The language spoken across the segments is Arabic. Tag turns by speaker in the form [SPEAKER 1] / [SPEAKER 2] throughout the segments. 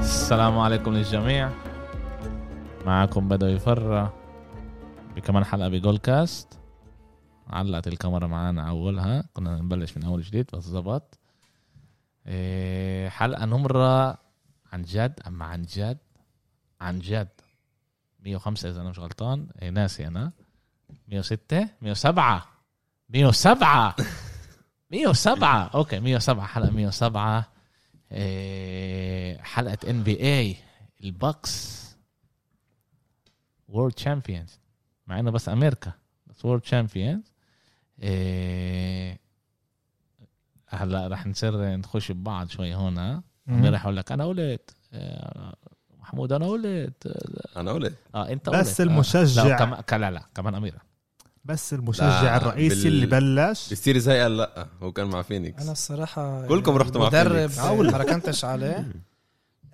[SPEAKER 1] السلام عليكم للجميع معكم بدو يفرع بكمان حلقة بجول كاست علقت الكاميرا معانا أولها كنا نبلش من أول جديد بس زبط إيه، حلقة نمرة عن جد أما عن جد عن جد 105 إذا أنا مش غلطان إيه، ناسي أنا 106 107 107 107 أوكي 107 حلقة 107 إيه، حلقة ان بي اي البكس وورلد تشامبيونز مع انه بس امريكا بس وورلد تشامبيونز هلا رح نصير نخش ببعض شوي هون ها؟ امبارح اقول لك انا قلت إيه، محمود انا قلت
[SPEAKER 2] انا قلت
[SPEAKER 1] اه انت قلت
[SPEAKER 3] بس
[SPEAKER 1] آه. لا
[SPEAKER 3] المشجع
[SPEAKER 1] كمان لا لا كمان اميره
[SPEAKER 3] بس
[SPEAKER 2] لا،
[SPEAKER 3] المشجع الرئيسي
[SPEAKER 2] بال-
[SPEAKER 3] اللي بلش
[SPEAKER 2] بالسيريز هاي قال لا هو كان مع فينيكس
[SPEAKER 4] انا الصراحه
[SPEAKER 2] كلكم رحتوا مع
[SPEAKER 4] مدرب
[SPEAKER 2] فينيكس.
[SPEAKER 4] اول يعني ما ركنتش عليه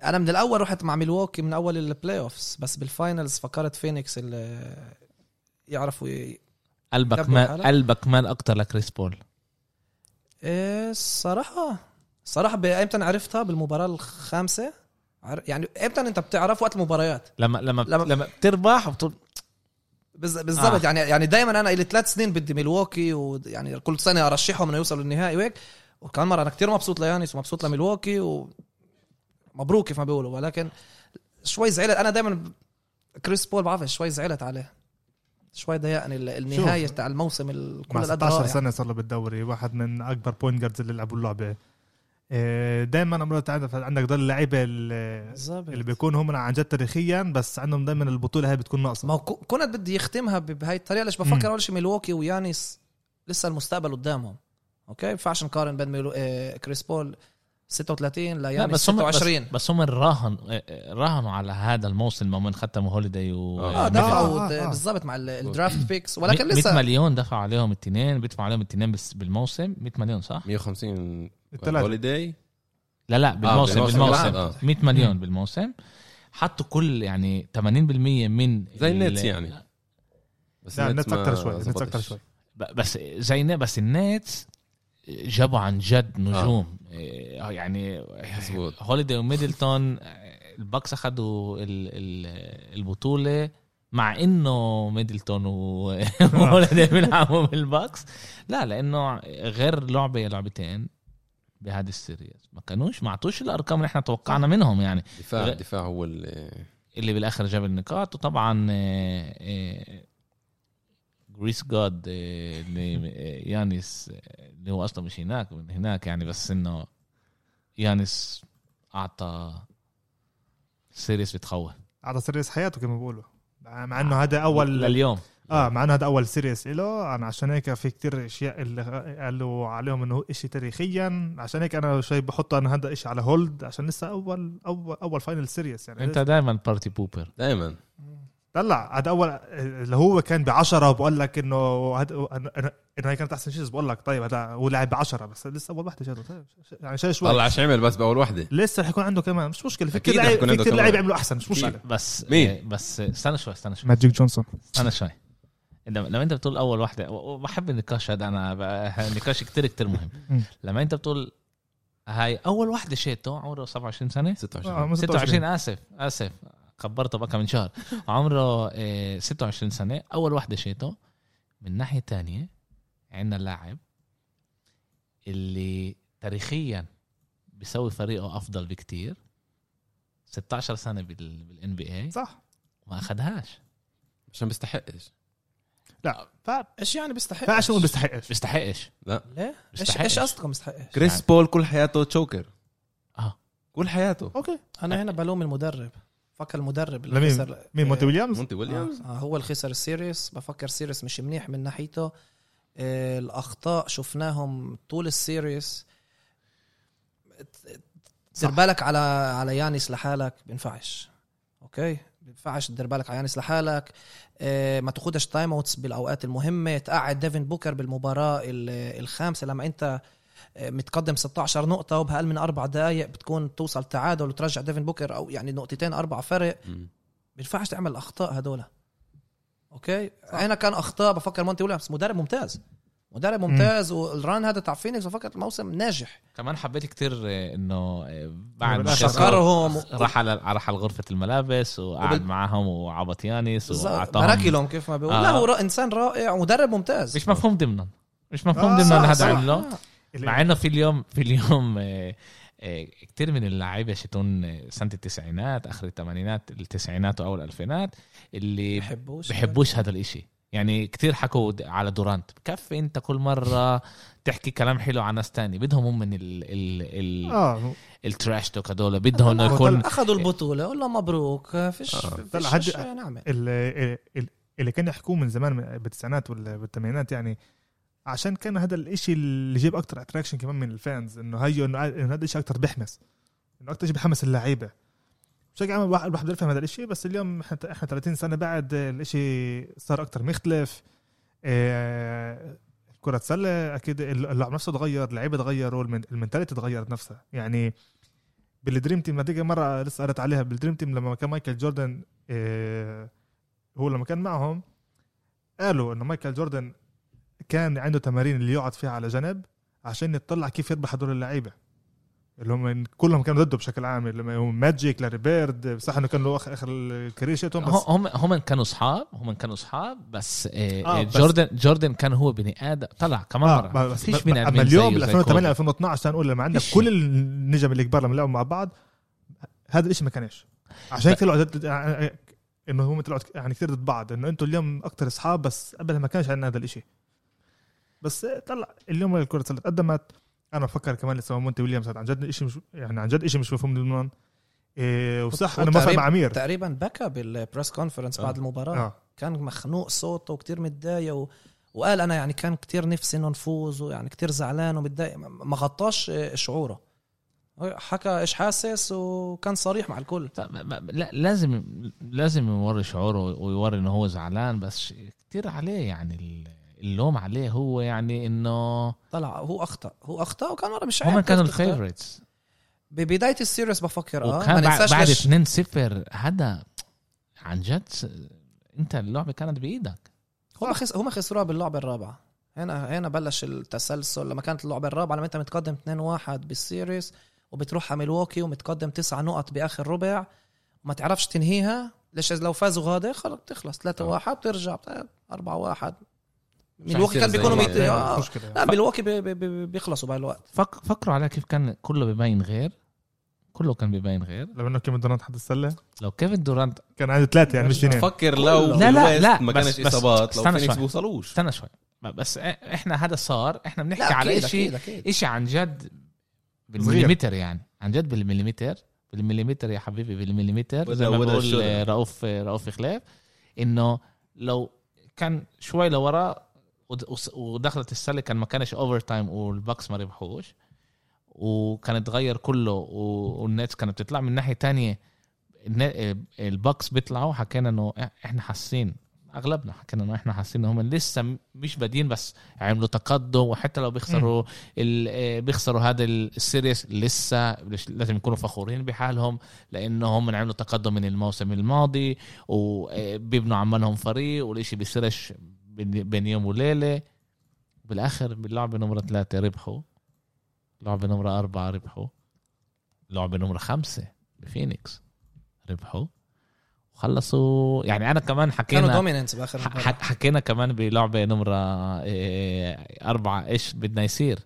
[SPEAKER 4] انا من الاول رحت مع ميلواكي من اول البلاي اوفس بس بالفاينلز فكرت فينيكس اللي يعرفوا ي-
[SPEAKER 1] قلبك
[SPEAKER 4] كبوا
[SPEAKER 1] مال
[SPEAKER 4] حالك.
[SPEAKER 1] قلبك مال اكتر لكريس بول
[SPEAKER 4] إيه الصراحه الصراحه ب- امتى أنا عرفتها بالمباراه الخامسه عر- يعني امتى انت بتعرف وقت المباريات
[SPEAKER 1] لما لما لما,
[SPEAKER 4] لما-
[SPEAKER 1] لما بتربح وبتقول
[SPEAKER 4] بز- بالضبط
[SPEAKER 1] آه.
[SPEAKER 4] آه. يعني يعني دائما انا لي ثلاث سنين بدي ميلواكي ويعني كل سنه ارشحهم انه يوصلوا للنهائي وهيك وكان مره انا كتير مبسوط ليانيس ومبسوط لميلواكي ومبروك كيف ما بيقولوا ولكن شوي زعلت انا دائما كريس بول بعرف شوي زعلت عليه شوي ضايقني ال- النهايه تاع الموسم ال-
[SPEAKER 3] مع
[SPEAKER 4] كل يعني. قد
[SPEAKER 3] 16
[SPEAKER 4] رائع.
[SPEAKER 3] سنه صار له بالدوري واحد من اكبر بوينت جاردز اللي لعبوا آه، اللعبه دائما امرات عندك عندك ضل اللعيبه اللي
[SPEAKER 4] بالظبط
[SPEAKER 3] اللي بيكونوا هم عن جد تاريخيا بس عندهم دائما البطوله هاي بتكون ناقصه
[SPEAKER 4] ما هو ك- كنت بدي يختمها ب- بهاي الطريقه ليش بفكر
[SPEAKER 3] مم.
[SPEAKER 4] اول شيء ميلواكي ويانيس لسه المستقبل قدامهم اوكي ما ينفعش نقارن بين ميلو... آه، كريس بول 36
[SPEAKER 1] لا
[SPEAKER 4] ليانيس
[SPEAKER 1] بس هم
[SPEAKER 4] 26
[SPEAKER 1] بس, بس هم راهن راهنوا على هذا الموسم لما ختموا هوليداي و
[SPEAKER 2] آه،
[SPEAKER 4] اه دفعوا
[SPEAKER 3] آه، آه، آه.
[SPEAKER 4] بالضبط مع ال- الدرافت بيكس ولكن
[SPEAKER 1] ولكن 100
[SPEAKER 4] لسه
[SPEAKER 1] مليون دفعوا عليهم التنين بيدفعوا عليهم التنين بس بالموسم 100 مليون صح؟
[SPEAKER 2] 150
[SPEAKER 3] الثلاثة.
[SPEAKER 2] هوليداي
[SPEAKER 1] لا لا بالموسم
[SPEAKER 2] آه، بالموسم.
[SPEAKER 1] بالموسم
[SPEAKER 2] آه.
[SPEAKER 1] 100 مليون بالموسم حطوا كل يعني 80% من
[SPEAKER 2] زي
[SPEAKER 1] ال-
[SPEAKER 2] النتس يعني بس
[SPEAKER 3] لا
[SPEAKER 2] النتس ما
[SPEAKER 3] نتسكر شوي
[SPEAKER 2] زبطش.
[SPEAKER 3] نتسكر شوي
[SPEAKER 1] ب- بس زي الن- بس النتس جابوا عن جد نجوم آه. يعني
[SPEAKER 2] مظبوط.
[SPEAKER 1] هوليدي وميدلتون آه، الباكس اخذوا ال- ال- البطوله مع انه ميدلتون و- وهوليدي بيلعبوا بالباكس لا لانه غير لعبه يا لعبتين بهذا السيريز ما كانوش ما عطوش الارقام اللي احنا توقعنا منهم يعني
[SPEAKER 2] دفاع
[SPEAKER 1] غ-
[SPEAKER 2] دفاع هو اللي
[SPEAKER 1] اللي بالاخر جاب النقاط وطبعا آه، آه، جريس جاد آه، اللي آه، يانس آه، اللي هو اصلا مش هناك من هناك يعني بس انه يانس اعطى سيريس بتخوف
[SPEAKER 3] على سيريس حياته كما بيقولوا مع
[SPEAKER 2] آه.
[SPEAKER 3] انه هذا اول
[SPEAKER 1] لليوم
[SPEAKER 3] اه مع انه هذا اول سيريس له انا عشان هيك في كتير اشياء اللي قالوا عليهم انه هو شيء تاريخيا عشان هيك انا شوي بحطه انا هذا شيء على هولد عشان لسه اول اول اول فاينل سيريس يعني
[SPEAKER 1] انت دائما بارتي بوبر
[SPEAKER 2] دائما
[SPEAKER 3] طلع هذا اول اللي هو كان ب 10 وبقول لك انه هاد- أنا- أنا- انه هي كانت احسن شيء بقول لك طيب هذا هو لاعب ب 10 بس لسه اول وحده شاته طيب ش- ش- يعني شوي شوي
[SPEAKER 2] طلع ايش عمل بس باول وحده
[SPEAKER 3] لسه رح يكون عنده كمان مش مشكله في
[SPEAKER 2] أكيد
[SPEAKER 3] كثير
[SPEAKER 2] رح
[SPEAKER 3] لعيب
[SPEAKER 2] يكون
[SPEAKER 3] في
[SPEAKER 2] عنده
[SPEAKER 3] كثير
[SPEAKER 2] كمان.
[SPEAKER 3] لعيب يعملوا احسن مش مشكله
[SPEAKER 1] بس
[SPEAKER 2] مين؟
[SPEAKER 1] آه، بس استنى شوي استنى شوي
[SPEAKER 3] ماجيك جونسون
[SPEAKER 1] استنى شوي لما لما انت بتقول اول واحده وبحب النقاش هذا انا ب- نقاش كتير كتير مهم
[SPEAKER 3] مم.
[SPEAKER 1] لما انت بتقول هاي اول واحده شيته عمره 27 سنه
[SPEAKER 3] آه،
[SPEAKER 2] 26
[SPEAKER 1] 26 اسف اسف كبرته بقى من شهر عمره آه، 26 سنه اول واحده شيته من ناحيه تانية عندنا لاعب اللي تاريخيا بيسوي فريقه افضل بكتير 16 سنه بالان بي اي
[SPEAKER 3] صح
[SPEAKER 1] ما اخذهاش
[SPEAKER 2] عشان بيستحقش
[SPEAKER 3] لا ف-
[SPEAKER 4] ايش يعني بيستحق
[SPEAKER 3] فعشان ما بيستحقش
[SPEAKER 1] بيستحقش
[SPEAKER 4] ليه؟ ايش
[SPEAKER 1] بيستحقش.
[SPEAKER 4] ايش قصدكم بيستحقش؟
[SPEAKER 2] كريس بول كل حياته تشوكر
[SPEAKER 1] آه.
[SPEAKER 2] كل حياته
[SPEAKER 3] اوكي
[SPEAKER 4] انا هنا بلوم المدرب فكر المدرب اللي
[SPEAKER 3] لمين؟
[SPEAKER 4] خسر
[SPEAKER 3] مين مونتي
[SPEAKER 4] آه،
[SPEAKER 3] ويليامز؟
[SPEAKER 2] مونتي ويليامز
[SPEAKER 4] آه، هو اللي خسر السيريس بفكر سيريس مش منيح من ناحيته آه، الاخطاء شفناهم طول السيريس دير بالك على على يانس لحالك بينفعش اوكي بينفعش تدير بالك على يانس لحالك آه، ما تاخدش تايم اوتس بالاوقات المهمه تقعد ديفن بوكر بالمباراه ال- الخامسه لما انت آه، متقدم 16 نقطه وباقل من اربع دقائق بتكون توصل تعادل وترجع ديفن بوكر او يعني نقطتين اربع فرق
[SPEAKER 2] مم.
[SPEAKER 4] بينفعش تعمل الاخطاء هدول اوكي هنا كان اخطاء بفكر مونتي ويليامز مدرب ممتاز مدرب ممتاز والران هذا تاع فينيكس وفكرة الموسم ناجح
[SPEAKER 1] كمان حبيت كتير آه، انه آه، بعد ما
[SPEAKER 3] لا،
[SPEAKER 1] خسر،
[SPEAKER 4] شكرهم.
[SPEAKER 1] راح على راح على غرفه الملابس وقعد
[SPEAKER 4] وبال-
[SPEAKER 1] معاهم وعبط يانس
[SPEAKER 4] بالظبط.
[SPEAKER 1] واعطاهم
[SPEAKER 4] براكلهم كيف ما بيقول
[SPEAKER 1] آه.
[SPEAKER 4] لا هو را- انسان رائع مدرب ممتاز
[SPEAKER 1] مش مفهوم ضمنا مش مفهوم
[SPEAKER 3] آه،
[SPEAKER 1] ضمنا
[SPEAKER 3] صح،
[SPEAKER 1] اللي هذا
[SPEAKER 3] صح.
[SPEAKER 1] عمله
[SPEAKER 3] اللي-
[SPEAKER 1] مع انه في اليوم في اليوم آه، آه، كتير من اللعيبه شتون آه، سنه التسعينات اخر الثمانينات التسعينات واول الالفينات اللي
[SPEAKER 4] بحبوش
[SPEAKER 1] بحبوش هذا الاشي يعني كتير حكوا د- على دورانت بكفي انت كل مره تحكي كلام حلو عن ناس تاني بدهم هم من ال ال ال
[SPEAKER 3] اه
[SPEAKER 1] التراش توك هدول بدهم انه يكون
[SPEAKER 4] اخذوا البطوله والله مبروك فيش
[SPEAKER 2] آه.
[SPEAKER 3] طلع
[SPEAKER 4] فيش
[SPEAKER 3] حد-
[SPEAKER 4] نعمل
[SPEAKER 3] اللي, اللي كان يحكوه من زمان من- بالتسعينات وال- بالثمانينات يعني عشان كان هذا الاشي اللي جاب اكتر اتراكشن كمان من الفانز انه هيو انه إنه هذا الشيء اكتر بيحمس انه اكتر شيء بحمس اللعيبه بشكل عام الواحد الواحد بيفهم هذا الشيء بس اليوم احنا احنا 30 سنه بعد الاشي صار اكتر مختلف آه، كرة سلة اكيد ال- اللعب نفسه تغير اللعيبه تغيروا المن- المنتاليتي تغيرت نفسها يعني بالدريم تيم نتيجه مره لسه قريت عليها بالدريم تيم لما كان مايكل جوردن آه، هو لما كان معهم قالوا انه مايكل جوردن كان عنده تمارين اللي يقعد فيها على جنب عشان يطلع كيف يربح هدول اللعيبه اللي هم كلهم كانوا ضده بشكل عام اللي هم ماجيك لاري بيرد صح انه كان له اخر اخر الكارير شيتهم بس
[SPEAKER 1] هم هم كانوا اصحاب هم كانوا اصحاب بس, آه
[SPEAKER 3] آه،
[SPEAKER 1] آه
[SPEAKER 3] بس-
[SPEAKER 1] جوردن جوردن كان هو بني ادم طلع كمان
[SPEAKER 3] آه،
[SPEAKER 1] مره
[SPEAKER 3] بس
[SPEAKER 1] فيش
[SPEAKER 3] بس
[SPEAKER 1] بني ادمين
[SPEAKER 3] اما اليوم
[SPEAKER 1] زيه
[SPEAKER 3] ال
[SPEAKER 1] زي
[SPEAKER 3] 2008
[SPEAKER 1] كوبي.
[SPEAKER 3] 2012 تعال نقول لما عندك
[SPEAKER 1] فيش.
[SPEAKER 3] كل النجم الكبار لما لعبوا مع بعض هذا الشيء ما كانش عشان
[SPEAKER 1] ب-
[SPEAKER 3] كثير لعبوا ضد- يعني- انه هم طلعوا يعني كثير ضد بعض انه انتم اليوم اكثر اصحاب بس قبل ما كانش عندنا هذا الشيء بس آه، طلع اليوم الكره السله تقدمت انا بفكر كمان لسه مونتي ويليامز هاد عن جد شيء مش يعني عن جد شيء مش مفهوم لبنان إيه وصح انا موافق
[SPEAKER 4] وتقريب-
[SPEAKER 3] مع امير
[SPEAKER 4] تقريبا بكى بالبريس كونفرنس
[SPEAKER 1] آه.
[SPEAKER 4] بعد المباراه
[SPEAKER 3] اه
[SPEAKER 4] كان مخنوق صوته وكتير متضايق و... وقال انا يعني كان كتير نفسي انه نفوز ويعني كتير زعلان ومتضايق ما- ما غطاش شعوره حكى ايش حاسس وكان صريح مع الكل
[SPEAKER 1] طب ما- ما- لا لازم لازم يوري شعوره ويوري انه هو زعلان بس ش- كتير عليه يعني ال- اللوم عليه هو يعني انه
[SPEAKER 4] طلع هو اخطا هو اخطا وكان ورا مش
[SPEAKER 1] هم
[SPEAKER 4] عارف
[SPEAKER 1] كانوا
[SPEAKER 4] كيف تختار.
[SPEAKER 1] الفيفوريتس
[SPEAKER 4] ببدايه السيريس بفكر اه ما
[SPEAKER 1] وكان بعد,
[SPEAKER 4] ننساش
[SPEAKER 1] بعد
[SPEAKER 4] ليش
[SPEAKER 1] 2 0 هذا عن جد س- انت اللعبه كانت بايدك
[SPEAKER 4] هم خس... هم خسروها باللعبه الرابعه هنا هنا بلش التسلسل لما كانت اللعبه الرابعه لما انت متقدم 2-1 بالسيريس وبتروح على ميلواكي ومتقدم تسع نقط باخر ربع وما تعرفش تنهيها ليش لو فازوا غادي خلص بتخلص 3-1 بترجع طيب، 4-1 ميلواكي كان
[SPEAKER 2] زي
[SPEAKER 4] بيكونوا
[SPEAKER 2] بعض.
[SPEAKER 4] ميت...
[SPEAKER 2] إيه،
[SPEAKER 4] آه.
[SPEAKER 3] مشكله
[SPEAKER 4] لا ميلواكي بي... بي... بي... بيخلصوا بهالوقت
[SPEAKER 1] فك فكروا على كيف كان كله ببين غير كله كان ببين غير
[SPEAKER 3] لما انه كيف دونالد حد السله
[SPEAKER 1] لو كيفن دورانت
[SPEAKER 3] كان عنده ثلاثه يعني مش اثنين
[SPEAKER 2] فكر لو
[SPEAKER 1] لا، لا،
[SPEAKER 2] بالويست
[SPEAKER 1] لا،
[SPEAKER 2] ما
[SPEAKER 1] بس-
[SPEAKER 2] كانش
[SPEAKER 1] بس-
[SPEAKER 2] اصابات لو
[SPEAKER 1] استنى
[SPEAKER 2] فينيكس
[SPEAKER 1] شوي.
[SPEAKER 2] بوصلوش
[SPEAKER 1] استنى شوي بس احنا هذا صار احنا بنحكي
[SPEAKER 4] لا
[SPEAKER 1] على
[SPEAKER 4] اكيد
[SPEAKER 1] شيء
[SPEAKER 4] اكيد اكيد
[SPEAKER 1] إشي إيه، عن جد بالمليمتر يعني عن جد بالمليمتر بالمليمتر يا حبيبي بالمليمتر زي ما
[SPEAKER 2] ولا- ولا
[SPEAKER 1] بقول
[SPEAKER 2] الشغلة.
[SPEAKER 1] رؤوف رؤوف خلاف انه لو كان شوي لورا ود- وس- ودخلت السله كان ما كانش اوفر تايم والباكس ما ربحوش وكان اتغير كله و- والنتس كانت بتطلع من ناحيه تانية الن- الباكس بيطلعوا حكينا انه احنا حاسين اغلبنا حكينا انه احنا حاسين انهم لسه مش بادين بس عملوا تقدم وحتى لو بيخسروا ال- آه، بيخسروا هذا السيريس لسه لش- لازم يكونوا فخورين بحالهم لانه هم عملوا تقدم من الموسم الماضي وبيبنوا عمالهم فريق والشيء بيصيرش بين بين يوم وليله بالاخر باللعبه نمره ثلاثه ربحوا لعبه نمره أربعة ربحوا لعبه نمره خمسة بفينيكس ربحوا وخلصوا يعني انا كمان حكينا
[SPEAKER 4] كانوا دوميننس باخر
[SPEAKER 1] ح-
[SPEAKER 4] المباراة.
[SPEAKER 1] ح- حكينا كمان بلعبه نمره إيه، أربعة ايش بدنا يصير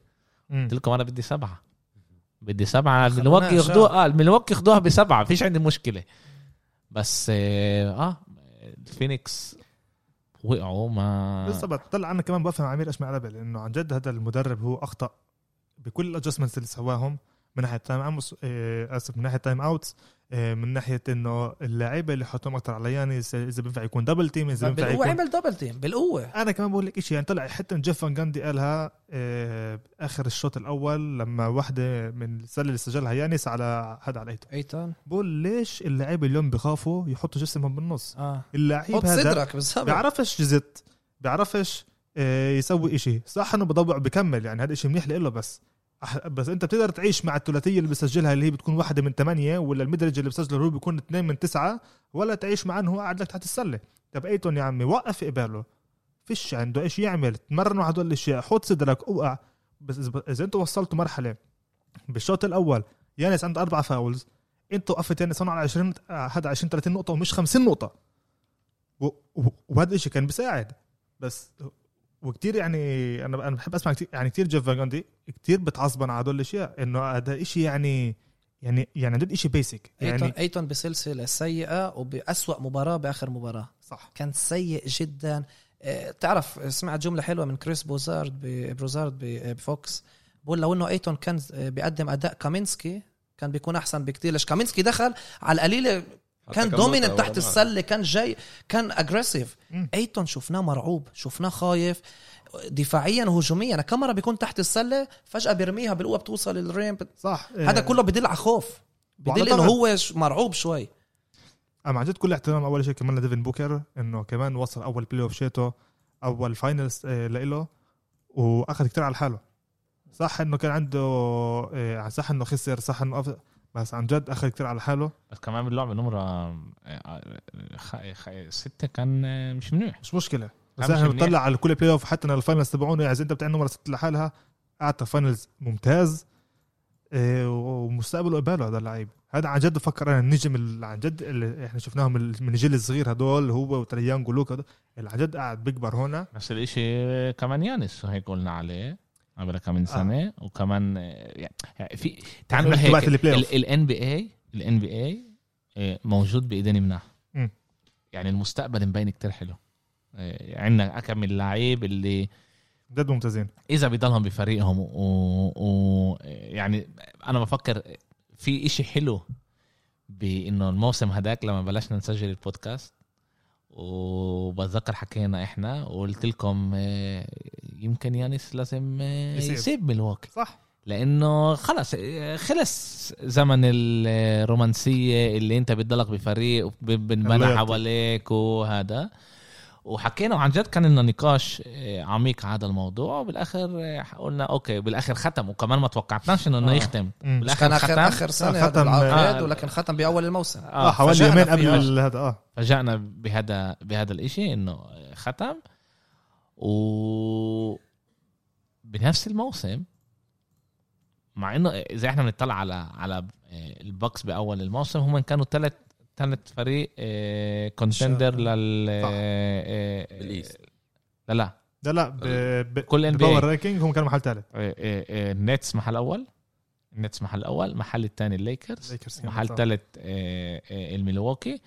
[SPEAKER 3] مم.
[SPEAKER 1] قلت لكم انا بدي سبعه بدي سبعه
[SPEAKER 4] خلونا
[SPEAKER 1] الملواكي
[SPEAKER 4] عشان.
[SPEAKER 1] ياخدوها اه الملواكي ياخدوها بسبعه فيش عندي مشكله بس اه آه، الفينيكس وقعوا ما
[SPEAKER 3] بالضبط طلع انا كمان بفهم عمير اشمع ربل انه عن جد هذا المدرب هو اخطا بكل الادجستمنتس اللي سواهم من ناحيه تايم اوتس اسف آه، من ناحيه تايم اوتس آه، من ناحيه انه اللاعيبه اللي حطهم اكثر على يانس اذا بينفع يكون دبل تيم اذا بينفع
[SPEAKER 4] بالقوه
[SPEAKER 3] يكون
[SPEAKER 4] عمل دبل تيم بالقوه
[SPEAKER 3] انا كمان بقول لك شيء يعني طلع حتى جيف فان جاندي قالها آه، اخر الشوط الاول لما واحده من السله اللي سجلها يانس على هذا على ايتو
[SPEAKER 4] ايتان
[SPEAKER 3] بقول ليش اللاعيبه اليوم بخافوا يحطوا جسمهم بالنص
[SPEAKER 1] آه.
[SPEAKER 4] اه
[SPEAKER 3] اللعيب
[SPEAKER 1] طيب،
[SPEAKER 4] حط
[SPEAKER 3] هذا
[SPEAKER 4] صدرك بالظبط
[SPEAKER 3] بيعرفش جزت بيعرفش آه، يسوي إشي صح انه بضوع بكمل يعني هذا إشي منيح له بس أح- بس انت بتقدر تعيش مع الثلاثيه اللي بسجلها اللي هي بتكون واحده من ثمانيه ولا المدرج اللي بسجله هو بيكون اثنين من تسعه ولا تعيش معاه إنه هو قاعد لك تحت السله طب ايتون يا عمي وقف قباله فيش عنده ايش يعمل تمرن مع هدول الاشياء حط صدرك اوقع بس إذا- اذا انتوا وصلتوا مرحله بالشوط الاول يانس عنده اربع فاولز انت وقفت يانس هون على آه، 20 هذا 20 30 نقطه ومش 50 نقطه و- و- وهذا الشيء كان بيساعد بس وكتير يعني انا انا بحب اسمع كتير يعني كتير جيف فاجاندي كتير بتعصبن على هدول الاشياء انه هذا شيء يعني يعني يعني هذا شيء بيسك
[SPEAKER 4] ايتون
[SPEAKER 3] يعني
[SPEAKER 4] ايتون بسلسله سيئه وباسوا مباراه باخر مباراه
[SPEAKER 3] صح
[SPEAKER 4] كان سيء جدا آه، تعرف سمعت جمله حلوه من كريس بوزارد ب- بروزارد ب- آه، بفوكس بقول لو انه ايتون كان آه، بيقدم اداء كامينسكي كان بيكون احسن بكتير ليش كامينسكي دخل على القليله كان دوميننت تحت السله كان جاي كان اجريسيف
[SPEAKER 3] مم.
[SPEAKER 4] ايتون شفناه مرعوب شفناه خايف دفاعيا وهجوميا كم مره بيكون تحت السله فجاه بيرميها بالقوه بتوصل للريم
[SPEAKER 3] صح آه،
[SPEAKER 4] هذا كله بدل على خوف
[SPEAKER 3] وعلى
[SPEAKER 4] بدل انه
[SPEAKER 3] ظهر-
[SPEAKER 4] هو ش- مرعوب شوي
[SPEAKER 3] انا عن جد كل احترام اول شيء كمان لديفن بوكر انه كمان وصل اول بلاي اوف شيته اول فاينلز آه، لإله واخذ كتير على حاله صح انه كان عنده آه، صح انه خسر صح انه أف... بس عن جد اخذ كتير على حاله
[SPEAKER 1] بس كمان باللعبه نمره آه، خ- خ- سته كان آه، مش منيح
[SPEAKER 3] مش مشكله بس
[SPEAKER 1] أهم
[SPEAKER 3] احنا
[SPEAKER 1] شيء منيح.
[SPEAKER 3] بنطلع على كل بلاي اوف حتى الفاينلز تبعونه يعني إذا انت بتعمل نمره ست لحالها اعطى فاينلز ممتاز آه، ومستقبله قباله هذا اللعيب هذا عن جد بفكر انا النجم اللي عن جد اللي احنا شفناهم من الجيل الصغير هدول هو وتريانج ولوكا هدول، اللي عن جد قاعد بيكبر هون
[SPEAKER 1] نفس الاشي كمان يانس هيك قلنا عليه قبل كم من سنه آه. وكمان آه، يعني في تعال نقول
[SPEAKER 3] نحكي
[SPEAKER 1] هيك
[SPEAKER 3] وقت البلاي أوف.
[SPEAKER 1] الان بي اي الان بي اي آه، موجود بايدين منها
[SPEAKER 3] مم.
[SPEAKER 1] يعني المستقبل مبين كتير حلو آه، عندنا كم من لعيب اللي
[SPEAKER 3] جد ممتازين
[SPEAKER 1] اذا بيضلهم بفريقهم و... و... يعني انا بفكر في إشي حلو بانه الموسم هداك لما بلشنا نسجل البودكاست وبتذكر حكينا احنا وقلت لكم آه، يمكن يانس لازم آه،
[SPEAKER 3] يسيب.
[SPEAKER 1] يسيب ملواكي
[SPEAKER 3] صح
[SPEAKER 1] لانه خلص آه، خلص زمن الرومانسيه اللي انت بتضلك بفريق وبنبنى
[SPEAKER 3] الله يعطيك.
[SPEAKER 1] حواليك وهذا وحكينا وعن جد كان لنا نقاش آه، عميق على هذا الموضوع وبالاخر آه، قلنا اوكي بالاخر ختم وكمان ما توقعناش انه
[SPEAKER 4] آه.
[SPEAKER 1] آه. يختم
[SPEAKER 3] مم.
[SPEAKER 1] بالآخر
[SPEAKER 4] كان اخر
[SPEAKER 1] ختم؟
[SPEAKER 4] اخر سنه
[SPEAKER 3] آه،
[SPEAKER 4] هذا
[SPEAKER 3] ختم،
[SPEAKER 4] العقد
[SPEAKER 1] آه.
[SPEAKER 4] ولكن ختم باول الموسم
[SPEAKER 3] اه حوالي
[SPEAKER 4] فاجأنا
[SPEAKER 3] يومين
[SPEAKER 4] فيه.
[SPEAKER 3] قبل ال- هذا اه
[SPEAKER 1] فاجأنا بهذا بهذا الإشي إنه ختم و بنفس الموسم مع إنه إذا إحنا بنطلع على على آه، البوكس بأول الموسم هم كانوا ثلاث ثالث فريق كونتندر لل
[SPEAKER 3] صح.
[SPEAKER 1] آه، آه،
[SPEAKER 2] بالإيست.
[SPEAKER 1] لا لا
[SPEAKER 3] لا لا ب...
[SPEAKER 4] آه،
[SPEAKER 3] ب...
[SPEAKER 1] كل
[SPEAKER 3] باور
[SPEAKER 1] NBA.
[SPEAKER 3] رانكينج هم كانوا محل ثالث
[SPEAKER 1] آه، آه، آه، النتس محل أول النتس محل أول محل الثاني الليكرز
[SPEAKER 3] الليكرز كانوا
[SPEAKER 1] محل
[SPEAKER 3] صح.
[SPEAKER 1] ثالث الميلواكي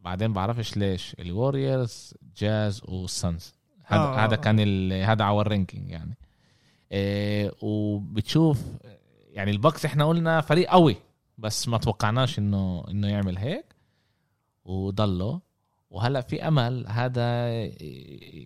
[SPEAKER 1] بعدين بعرفش ليش الوريورز جاز والسانز هذا
[SPEAKER 3] آه، آه،
[SPEAKER 1] هذا
[SPEAKER 3] آه.
[SPEAKER 1] كان ال- هذا عور رانكينج يعني آه، وبتشوف يعني البكس احنا قلنا فريق قوي بس ما توقعناش انه انه يعمل هيك وضلوا وهلا في امل هذا آه،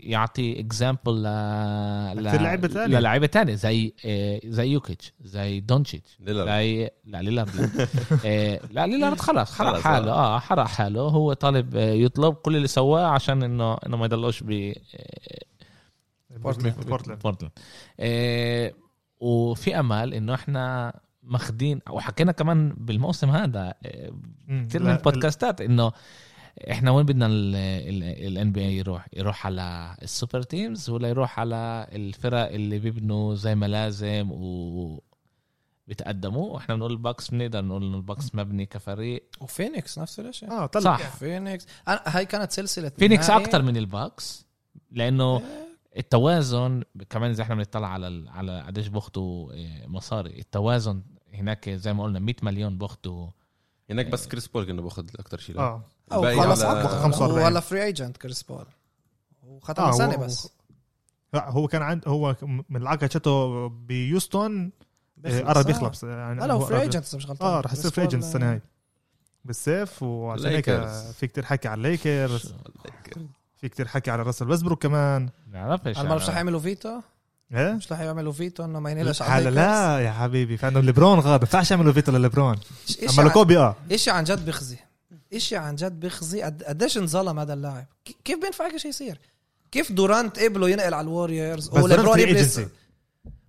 [SPEAKER 1] يعطي اكزامبل ل
[SPEAKER 3] لعيبة تانية.
[SPEAKER 1] للعيبه ثانيه زي آه، زي يوكيتش زي دونتشيتش
[SPEAKER 2] ليلارد.
[SPEAKER 1] زي لا ليلارد آه، لا ليلارد خلاص حرق
[SPEAKER 2] خلاص،
[SPEAKER 1] حاله اه حرق حاله هو طالب آه، يطلب كل اللي سواه عشان انه انه ما يضلوش ب آه،
[SPEAKER 3] بورتلاند بورتلاند
[SPEAKER 1] بورتلاند آه، وفي امل انه احنا ماخدين وحكينا كمان بالموسم هذا آه،
[SPEAKER 3] مم.
[SPEAKER 1] كثير
[SPEAKER 3] لا،
[SPEAKER 1] من البودكاستات انه احنا وين بدنا الان بي اي يروح يروح على السوبر تيمز ولا يروح على الفرق اللي بيبنوا زي ما لازم و بيتقدموا واحنا بنقول الباكس بنقدر نقول انه الباكس مبني كفريق
[SPEAKER 4] وفينيكس نفس الشيء
[SPEAKER 3] اه طلع
[SPEAKER 1] صح.
[SPEAKER 4] فينيكس أنا هاي كانت سلسله
[SPEAKER 1] فينيكس
[SPEAKER 4] نهائي.
[SPEAKER 1] اكتر من الباكس لانه التوازن كمان اذا احنا بنطلع على ال- على قديش بياخدوا إيه، مصاري التوازن هناك زي ما قلنا 100 مليون بياخدوا
[SPEAKER 2] هناك بس كريس بول كانه باخذ اكثر شيء
[SPEAKER 1] آه.
[SPEAKER 3] اه
[SPEAKER 4] او
[SPEAKER 2] الباقي
[SPEAKER 4] خلص
[SPEAKER 2] على-
[SPEAKER 4] عقده.
[SPEAKER 3] 45.
[SPEAKER 4] هو ولا فري ايجنت كريس بول وختم
[SPEAKER 3] آه،
[SPEAKER 4] آه
[SPEAKER 3] هو-
[SPEAKER 4] سنه بس
[SPEAKER 3] لا هو كان عند هو من العقد شاته بيوستون آه،
[SPEAKER 4] بيخلص،
[SPEAKER 3] قرب
[SPEAKER 4] آه.
[SPEAKER 3] يخلص يعني
[SPEAKER 4] لا لا هو فري
[SPEAKER 3] قرب-
[SPEAKER 4] ايجنت اذا مش غلطان
[SPEAKER 3] اه رح يصير
[SPEAKER 4] كريس
[SPEAKER 3] فري ايجنت
[SPEAKER 4] بول-
[SPEAKER 3] السنه هاي بالسيف وعشان هيك
[SPEAKER 2] الليكرز.
[SPEAKER 3] في كتير حكي على الليكرز
[SPEAKER 2] له
[SPEAKER 3] في كتير حكي على راسل ويسبروك كمان
[SPEAKER 1] نعرفش
[SPEAKER 4] انا ما
[SPEAKER 3] آه.
[SPEAKER 4] بعرف رح يعملوا فيتو
[SPEAKER 3] ايه
[SPEAKER 4] مش رح يعملوا فيتو انه ما ينقلش
[SPEAKER 3] هلا لا يا حبيبي فعندهم ليبرون غاد ما ينفعش يعملوا فيتو لليبرون اما
[SPEAKER 4] اما
[SPEAKER 3] لكوبي اه
[SPEAKER 4] اشي عن جد بيخزي اشي عن جد بيخزي قد- قديش انظلم هذا اللاعب ك- كيف بينفع هيك شيء يصير كيف دورانت قبله ينقل على الوريورز
[SPEAKER 3] بس دورانت
[SPEAKER 4] وليبرون
[SPEAKER 3] فري
[SPEAKER 4] قبل-
[SPEAKER 3] ايجنسي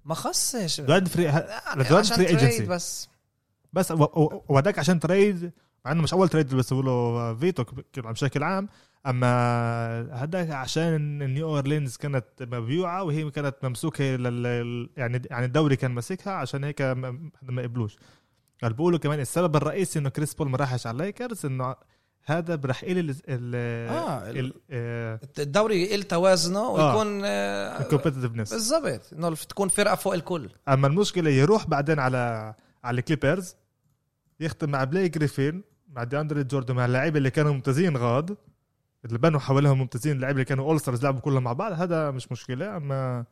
[SPEAKER 4] ما خصش
[SPEAKER 3] دورانت فري دورانت
[SPEAKER 4] عشان
[SPEAKER 3] فري ايجنسي
[SPEAKER 4] تريد بس
[SPEAKER 3] بس و- و- وهداك عشان تريد مع انه مش اول تريد اللي بيسووا له فيتو ك- ك- بشكل عام اما هداك عشان نيو اورلينز كانت مبيوعه وهي كانت ممسوكه لل... يعني يعني الدوري كان ماسكها عشان هيك ما ما قبلوش قال بيقولوا كمان السبب الرئيسي انه كريس بول ما راحش على الليكرز انه هذا برح يقلل ال... ال...
[SPEAKER 4] آه، ال-
[SPEAKER 3] ال... آه،
[SPEAKER 4] الدوري يقل توازنه ويكون آه،
[SPEAKER 3] الكومبتتفنس
[SPEAKER 4] بالضبط انه تكون فرقه فوق الكل
[SPEAKER 3] اما المشكله يروح بعدين على على الكليبرز يختم مع بلاي جريفين مع دياندري جوردن مع اللعيبه اللي كانوا ممتازين غاد اللي بنوا حواليهم ممتازين اللعيبه اللي كانوا اول ستارز لعبوا كلهم مع بعض هذا مش مشكله اما